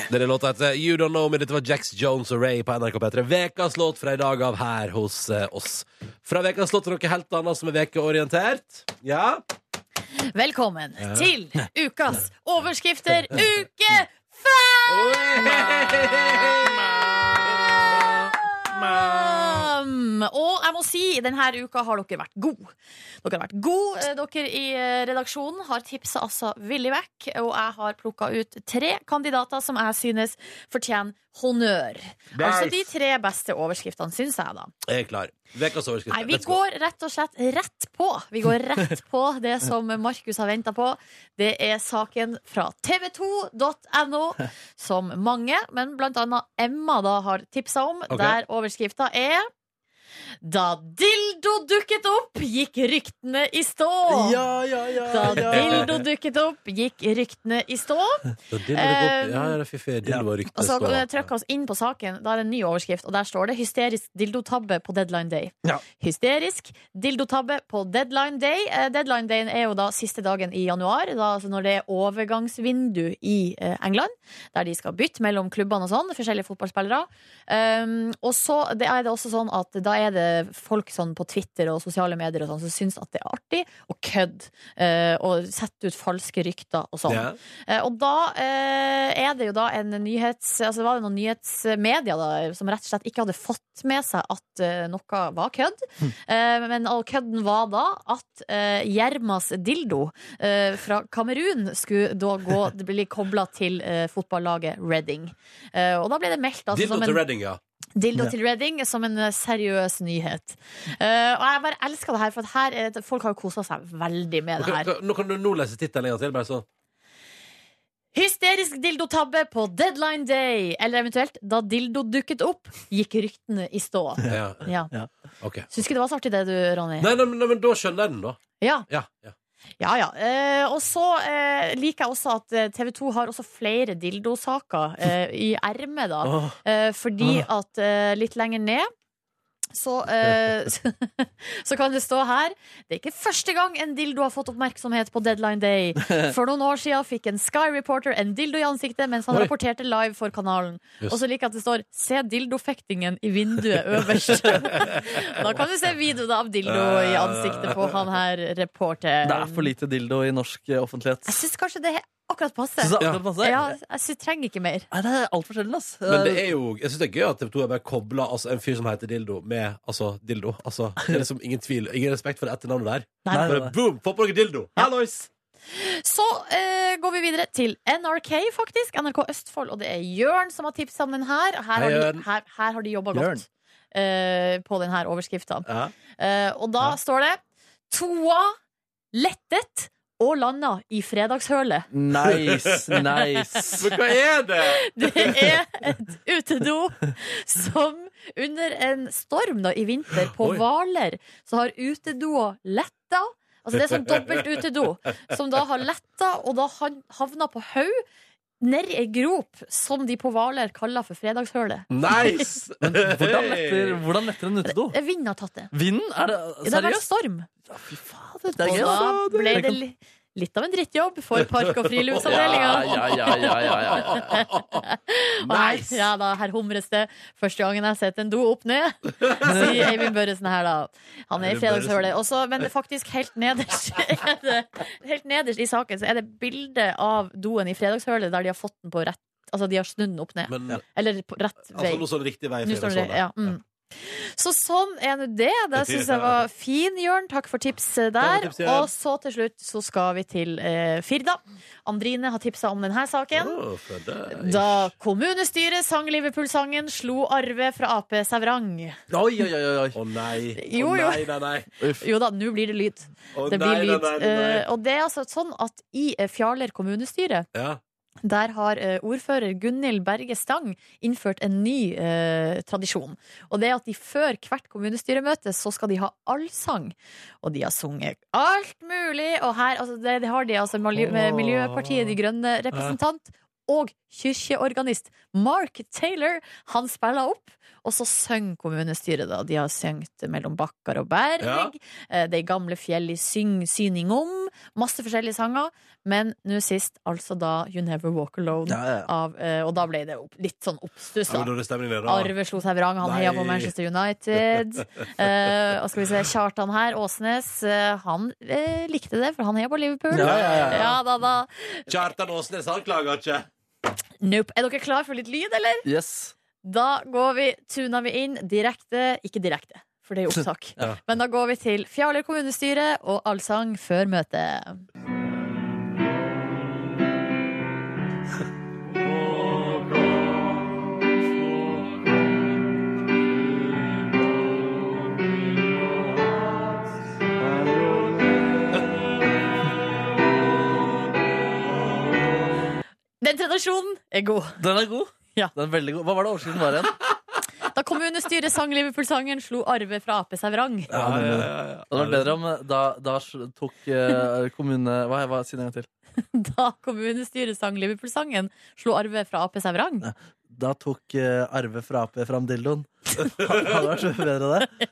Speaker 2: er Denne låta heter You Don't Know Me. Dette var Jax Jones og Ray på NRK P3. Vekas låt fra i dag av her hos eh, oss. Fra vekas låt til noe helt annet som er vekeorientert. Ja.
Speaker 3: Velkommen
Speaker 2: Ja.
Speaker 3: til ukas overskrifter uke fem! Og jeg må si, denne uka har dere vært god. Dere har vært god, eh, dere i eh, redaksjonen har tipsa altså villig vekk. Og jeg har plukka ut tre kandidater som jeg synes fortjener honnør.
Speaker 2: Nice.
Speaker 3: Altså de tre beste overskriftene, syns jeg, da.
Speaker 2: Jeg er klar. Vekas overskrift.
Speaker 3: Nei, vi går rett og slett rett på. Vi går rett på det som Markus har venta på. Det er saken fra tv2.no, som mange, men blant annet Emma da har tipsa om,
Speaker 12: Ok.
Speaker 3: der overskrifta er da dildo dukket opp, gikk ryktene i stå.
Speaker 12: Ja, ja, ja,
Speaker 3: da
Speaker 12: ja.
Speaker 3: dildo dukket opp, gikk ryktene i stå.
Speaker 2: Da dildo gikk opp. Ja, ja, det er fiffig. Dildo var
Speaker 3: Og
Speaker 2: ryktet
Speaker 3: så
Speaker 2: stå.
Speaker 3: trykka oss inn på saken. Da er det en ny overskrift, og der står det 'Hysterisk dildotabbe på deadline day'.
Speaker 2: Ja.
Speaker 3: Hysterisk dildotabbe på deadline day. Eh, Deadline dayen er jo da siste dagen i januar, da, altså når det er overgangsvindu i eh, England, der de skal bytte mellom klubbene og sånn, forskjellige fotballspillere. Um, og så det er det også sånn at da er det folk sånn på Twitter og sosiale medier og sånn som syns at det er artig å kødde eh, og sette ut falske rykter og sånn.
Speaker 12: Ja.
Speaker 3: Eh, Og da eh, er det jo da en nyhets... Altså det var det noen nyhetsmedier da, som rett og slett ikke hadde fått med seg at eh, noe var kødd.
Speaker 2: Hm.
Speaker 3: Eh, men all kødden var da at eh, Gjermas dildo eh, fra Kamerun skulle da gå, bli kobla til eh, fotballaget Reading. Eh, og da ble det meldt altså,
Speaker 2: Dildo
Speaker 3: som
Speaker 2: til
Speaker 3: en-
Speaker 2: Redding, ja.
Speaker 3: Dildo
Speaker 2: Ja.
Speaker 3: til Redding som en eh, seriøs nyhet. Eh, og jeg bare elsker det her, for at her, er det- folk har jo kosa seg veldig med
Speaker 2: Nå
Speaker 3: det her.
Speaker 2: kan, kan- nå kan du nå lese tittelen en gang til. Bare sånn.
Speaker 3: Hysterisk dildotabbe på deadline day. Eller eventuelt da dildo dukket opp, gikk ryktene i stå.
Speaker 2: Ja.
Speaker 3: Ja.
Speaker 2: Ok.
Speaker 3: Syns ikke det var så artig det du, Ronny?
Speaker 2: Nei, nei, men- nei, men da skjønner jeg den, da.
Speaker 3: Ja.
Speaker 2: Ja, ja.
Speaker 3: Ja, ja. Eh, og så eh, liker jeg også at TV 2 har også flere dildosaker eh, i ermet, da.
Speaker 12: Åh.
Speaker 3: Eh, fordi at eh, litt lenger ned så, eh, så, så kan det stå her Det er ikke første gang en dildo har fått oppmerksomhet på Deadline Day. For noen år siden fikk en Sky Reporter en dildo i ansiktet mens han
Speaker 12: Oi.
Speaker 3: rapporterte live for kanalen.
Speaker 12: Jøss.
Speaker 3: Og så liker jeg at det står 'Se dildofektingen i vinduet øverst'. da kan du se videoen av dildo i ansiktet på han her reporteren.
Speaker 4: Det er for lite dildo i norsk eh, offentlighet.
Speaker 3: Jeg syns kanskje det er akkurat passe.
Speaker 4: Synes det er akkurat passe?
Speaker 3: Ja, jeg synes, trenger ikke mer.
Speaker 4: Nei, det er altfor sjelden, ass. Eh,
Speaker 2: Men det er jo, jeg syns det er gøy at TV 2 har bare kobla altså, en fyr som heter Dildo, med altså Dildo. Altså, det er liksom ingen tvil. Ingen respekt for det etternavnet der.
Speaker 3: Nei, nei,
Speaker 2: Bare
Speaker 3: nei.
Speaker 2: boom! Få på dere dildo! Hallois!
Speaker 3: Så eh, går vi videre til NRK, faktisk. NRK Østfold. Og det er Jørn som har tipsa om den her. Og Her
Speaker 12: Hei,
Speaker 3: har de,
Speaker 12: Jørn.
Speaker 3: her, her har de jobba
Speaker 12: Jørn.
Speaker 3: godt eh, på denne overskrifta.
Speaker 2: Ja.
Speaker 3: Eh, og da står det Toa lettet og landa i fredagshølet.
Speaker 4: Nice, nice.
Speaker 2: Men hva er det?
Speaker 3: Det er et utedo som under en storm da, i vinter på
Speaker 12: Oi.
Speaker 3: Hvaler, så har utedoa letta. Altså det er sånn dobbelt utedo som da har letta og da han- havna på haug ned i ei grop som de på Hvaler kaller for fredagshølet.
Speaker 2: Nice!
Speaker 4: Men hvordan letter, hvordan letter en utedo?
Speaker 3: Eh, Vinden har tatt det.
Speaker 4: Vinden? Er det
Speaker 3: Det har vært
Speaker 4: seriøst?
Speaker 3: storm.
Speaker 4: det
Speaker 3: Og
Speaker 4: er gøy, altså.
Speaker 3: da
Speaker 4: da.
Speaker 3: ble
Speaker 4: Tenk
Speaker 3: det
Speaker 4: om-
Speaker 3: li- litt av en drittjobb for park- og friluftsavdelinga.
Speaker 4: Ja, ja, ja, ja, ja, ja.
Speaker 3: Og her- Ja da, her humres det. Første gangen jeg setter en do opp ned, sier Eivind Børresen her, da. Han er i
Speaker 12: Eivind Børresen.
Speaker 3: fredagshølet. Og så- men det er faktisk helt nederst, er det, helt nederst i saken så er det bilde av doen i fredagshølet der de har fått den på rett Altså de har snudd den opp ned.
Speaker 2: Men-
Speaker 3: Eller på rett vei.
Speaker 2: Altså, nå står det riktig vei i
Speaker 3: Nå står det-
Speaker 2: fredagshølet.
Speaker 3: ja, mm. Så sånn er nå det. Det syns jeg var fin, Jørn. Takk for tipset
Speaker 2: Takk
Speaker 3: der.
Speaker 2: for tipset.
Speaker 3: Og så til slutt så skal vi til eh, Firda. Andrine har tipsa om denne saken.
Speaker 2: Å, for deg.
Speaker 3: Da kommunestyret sang Liverpool-sangen, slo Arve fra Ap Sævrang.
Speaker 2: Oi, oi, oi, oi. Å nei. Å,
Speaker 3: Jo, jo.
Speaker 2: nei, nei, nei.
Speaker 3: Jo da, nå blir det lyd.
Speaker 2: Å,
Speaker 3: det
Speaker 2: nei,
Speaker 3: blir
Speaker 2: nei,
Speaker 3: lyd.
Speaker 2: nei, nei, nei.
Speaker 3: Eh, og det er altså sånn at i eh, Fjaler kommunestyre
Speaker 2: Ja.
Speaker 3: der har eh, ordfører Gunhild Berge Stang innført en ny eh, tradisjon. Og det er at de før hvert kommunestyremøte så skal de ha allsang. Og de har sunget alt mulig! Og her altså, det, det har de altså Mali- med Miljøpartiet De Grønne representant og kirkeorganist Mark Taylor. Han spiller opp. Og så synger kommunestyret, da. De har sunget mellom bakkar og berg.
Speaker 12: Ja.
Speaker 3: eh, De gamle fjell i syng, syning om. Masse forskjellige sanger. Men nå sist altså da You Never Walk Alone.
Speaker 2: Ja, ja, ja.
Speaker 3: Av, eh, og da ble det opp, litt sånn oppstuss. da.
Speaker 2: Ja, men da er det stemning der, da.
Speaker 3: Arve slo seg vrang, han
Speaker 2: Nei.
Speaker 3: heia på Manchester United. Eh, og skal vi se, Kjartan her, Åsnes, eh, han eh, likte det, for han heia på Liverpool.
Speaker 2: Ja, ja, ja, ja.
Speaker 3: ja da, da.
Speaker 2: Kjartan Åsnes, han klager ikke.
Speaker 3: Nope. Er dere klar for litt lyd, eller?
Speaker 4: Yes.
Speaker 3: Da går vi, tuner vi inn direkte Ikke direkte, for det er jo opptak.
Speaker 4: Ja.
Speaker 3: Men da går vi til Fjaler kommunestyre og allsang før møtet. Den tradisjonen er god.
Speaker 4: Den er god. Den er veldig god. Hva var det overskriften var igjen?
Speaker 3: Da kommunestyret sang Liverpool-sangen, slo Arve fra Ap seg vrang.
Speaker 4: Ja, ja, ja, ja. Det hadde vært bedre om eh, da, da tok eh, kommune... Hva, hva si det en gang til?
Speaker 3: Da kommunestyret sang Liverpool-sangen, slo Arve fra Ap seg vrang.
Speaker 4: Da tok eh, Arve fra Ap fram dildoen. Hadde vært så mye bedre det.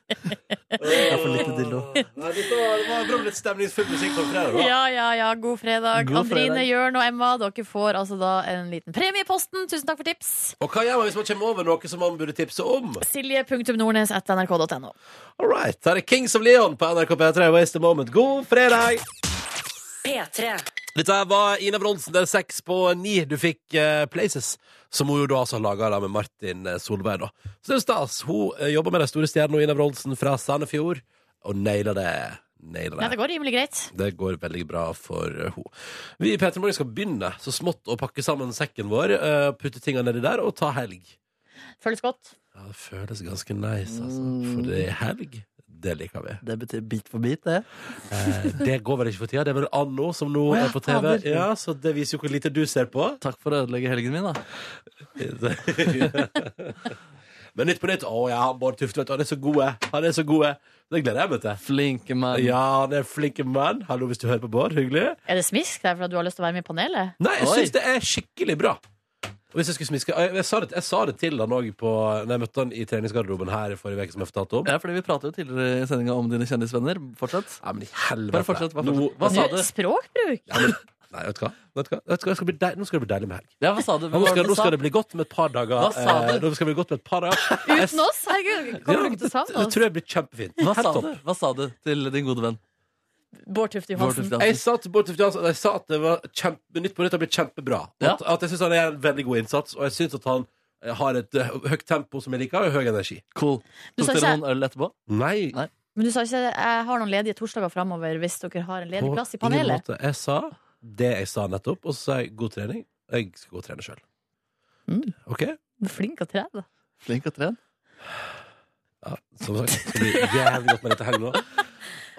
Speaker 4: Jeg får like dildo.
Speaker 2: Nei, dette var, det var bra med litt stemningsfull musikk på fredag. da.
Speaker 3: Ja, ja, ja. God fredag.
Speaker 2: God
Speaker 3: Andrine,
Speaker 2: fredag.
Speaker 3: Jørn og Emma, dere får altså da en liten premie i posten. Tusen takk for tips.
Speaker 2: Og hva gjør man hvis man kommer over noe som man burde tipse om?
Speaker 3: Silje.nordnes.nrk.no.
Speaker 2: All right, Her er Kings of Leon på NRK P3 Waste a Moment. God fredag!
Speaker 1: P3.
Speaker 2: Dette her var Ina Bronsen, det er seks på ni. Du fikk eh, Places, som hun jo da altså laga med Martin eh, Solveig, da. Så det er stas. Hun eh, jobber med de store stjernene, Ina Bronsen fra Sandefjord, og nailer det. Nailer
Speaker 3: Nei, det går rimelig greit.
Speaker 2: Det går veldig bra for henne. Vi i P3 Morgen skal begynne så smått å pakke sammen sekken vår, eh, putte tinga nedi der og ta helg.
Speaker 3: Føles godt.
Speaker 2: Ja, det føles ganske nice, altså. For det er helg. Det liker vi.
Speaker 4: Det betyr bit for bit, det.
Speaker 2: Eh, det går vel ikke for tida. Det er vel Anno som nå
Speaker 4: Å ja,
Speaker 2: er på TV.
Speaker 4: fader.
Speaker 2: Ja, Så det viser jo hvor lite du ser på.
Speaker 4: Takk for å ødelegge helgen min, da.
Speaker 2: Men Nytt på Nytt. Å ja, Bård Tufte, vet du. Han er så god. jeg. Han er så god. jeg. Det gleder jeg meg til.
Speaker 4: Flinke mann.
Speaker 2: Ja, han er flinke mann. Hallo, hvis du hører på Bård. Hyggelig.
Speaker 3: Er det smisk der for at du har lyst til å være med i panelet?
Speaker 2: Nei, jeg syns det er skikkelig bra. Og hvis jeg skulle smiske Jeg, jeg, sa, det, jeg sa det til han òg da jeg møtte han i treningsgarderoben her i forrige uke, som jeg fortalte om.
Speaker 4: Ja, fordi Vi pratet jo tidligere i sendinga om dine kjendisvenner. Fortsett.
Speaker 2: Ja, men i helvete.
Speaker 4: Bare fortsett. Bare fortsett.
Speaker 2: Nå-
Speaker 4: Hva sa
Speaker 2: Nå-
Speaker 4: du?
Speaker 3: Språkbruk?
Speaker 2: Nei, vet du hva? Vet du hva? Vet du hva? Det skal bli deil- Nå skal det bli deilig med helg.
Speaker 4: Ja, hva sa du?
Speaker 2: Nå skal,
Speaker 4: Hva
Speaker 2: nå
Speaker 4: sa-
Speaker 2: skal det bli godt med et par dager.
Speaker 4: Hva sa
Speaker 2: eh,
Speaker 4: du?
Speaker 2: Nå skal det bli godt med et par dager.
Speaker 3: Uten oss? Herregud, kommer du ikke til å savne
Speaker 2: Det
Speaker 3: oss?
Speaker 2: tror jeg blir kjempefint.
Speaker 4: Hva
Speaker 2: Helt
Speaker 4: sa,
Speaker 2: topp.
Speaker 4: du? hva sa du til din gode venn?
Speaker 3: Bård Tufte
Speaker 4: Bård
Speaker 3: Johansen.
Speaker 4: Tufte Johansen.
Speaker 2: Jeg sa til Bård Tufte Johansen at jeg sa at det var kjempe, Nytt på Nytt har blitt kjempebra. Og At, at jeg syns han gjør en veldig god innsats, og jeg syns at han eh, har et eh, høyt tempo som jeg liker, og høy energi.
Speaker 4: Cool.
Speaker 3: Du sa
Speaker 4: Tok dere
Speaker 3: ikke-
Speaker 4: noen øl etterpå?
Speaker 2: Nei.
Speaker 3: Men du sa ikke jeg har noen ledige torsdager framover hvis dere har en ledig
Speaker 2: På
Speaker 3: plass i
Speaker 2: ingen
Speaker 3: panelet?
Speaker 2: måte. Jeg sa det jeg sa nettopp, og så sa jeg god trening. Jeg skal gå og trene sjøl.
Speaker 3: Mm.
Speaker 2: OK?
Speaker 3: Du er flink til å trene.
Speaker 4: Flink og tren.
Speaker 2: Som sagt, det blir jævlig godt med dette her nå.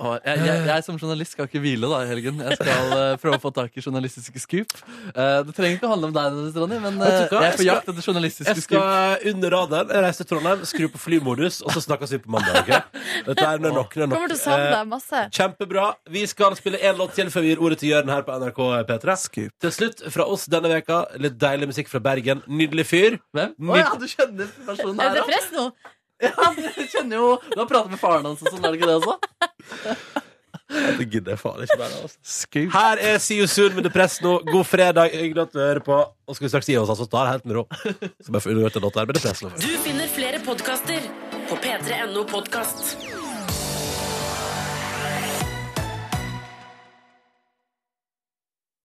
Speaker 4: Åh, Jeg, jeg, jeg som journalist skal ikke hvile da i helgen. Jeg skal eh, prøve å få tak i journalistiske scoop. Eh, det trenger ikke å handle om deg, nødvendigvis, Ronny, men eh,
Speaker 2: Vet du hva?
Speaker 4: jeg er på
Speaker 2: skal-
Speaker 4: jakt etter journalistiske
Speaker 2: Jeg
Speaker 4: scoop.
Speaker 2: skal under radaren, jeg reiser til Trondheim, skru på flymodus, og så snakkes vi på mandag. ok? Dette er nok, det er nok.
Speaker 3: Kommer til å savne
Speaker 2: Eh,
Speaker 3: deg masse.
Speaker 2: Kjempebra. Vi skal spille en låt til før vi gir ordet til Jørn her på NRK P3. Til slutt fra oss denne veka, litt deilig musikk fra Bergen. Nydelig fyr.
Speaker 4: Hvem?
Speaker 2: Nyd
Speaker 4: du kjenner personen
Speaker 3: Er det
Speaker 4: da?
Speaker 3: press nå?
Speaker 4: Ja, du kjenner jo Du har pratet med faren hans og sånn, er det ikke det også?
Speaker 2: Det gidder jeg faen ikke mer. Altså. Her er See You Soon med Depress nå. God fredag. Hyggelig at du hører på. Og skal vi straks gi oss, altså. Da er det helt med ro. liksom. Så bare få underhørt en låt der med Depress nå.
Speaker 1: Du finner flere podkaster på p3.no podkast.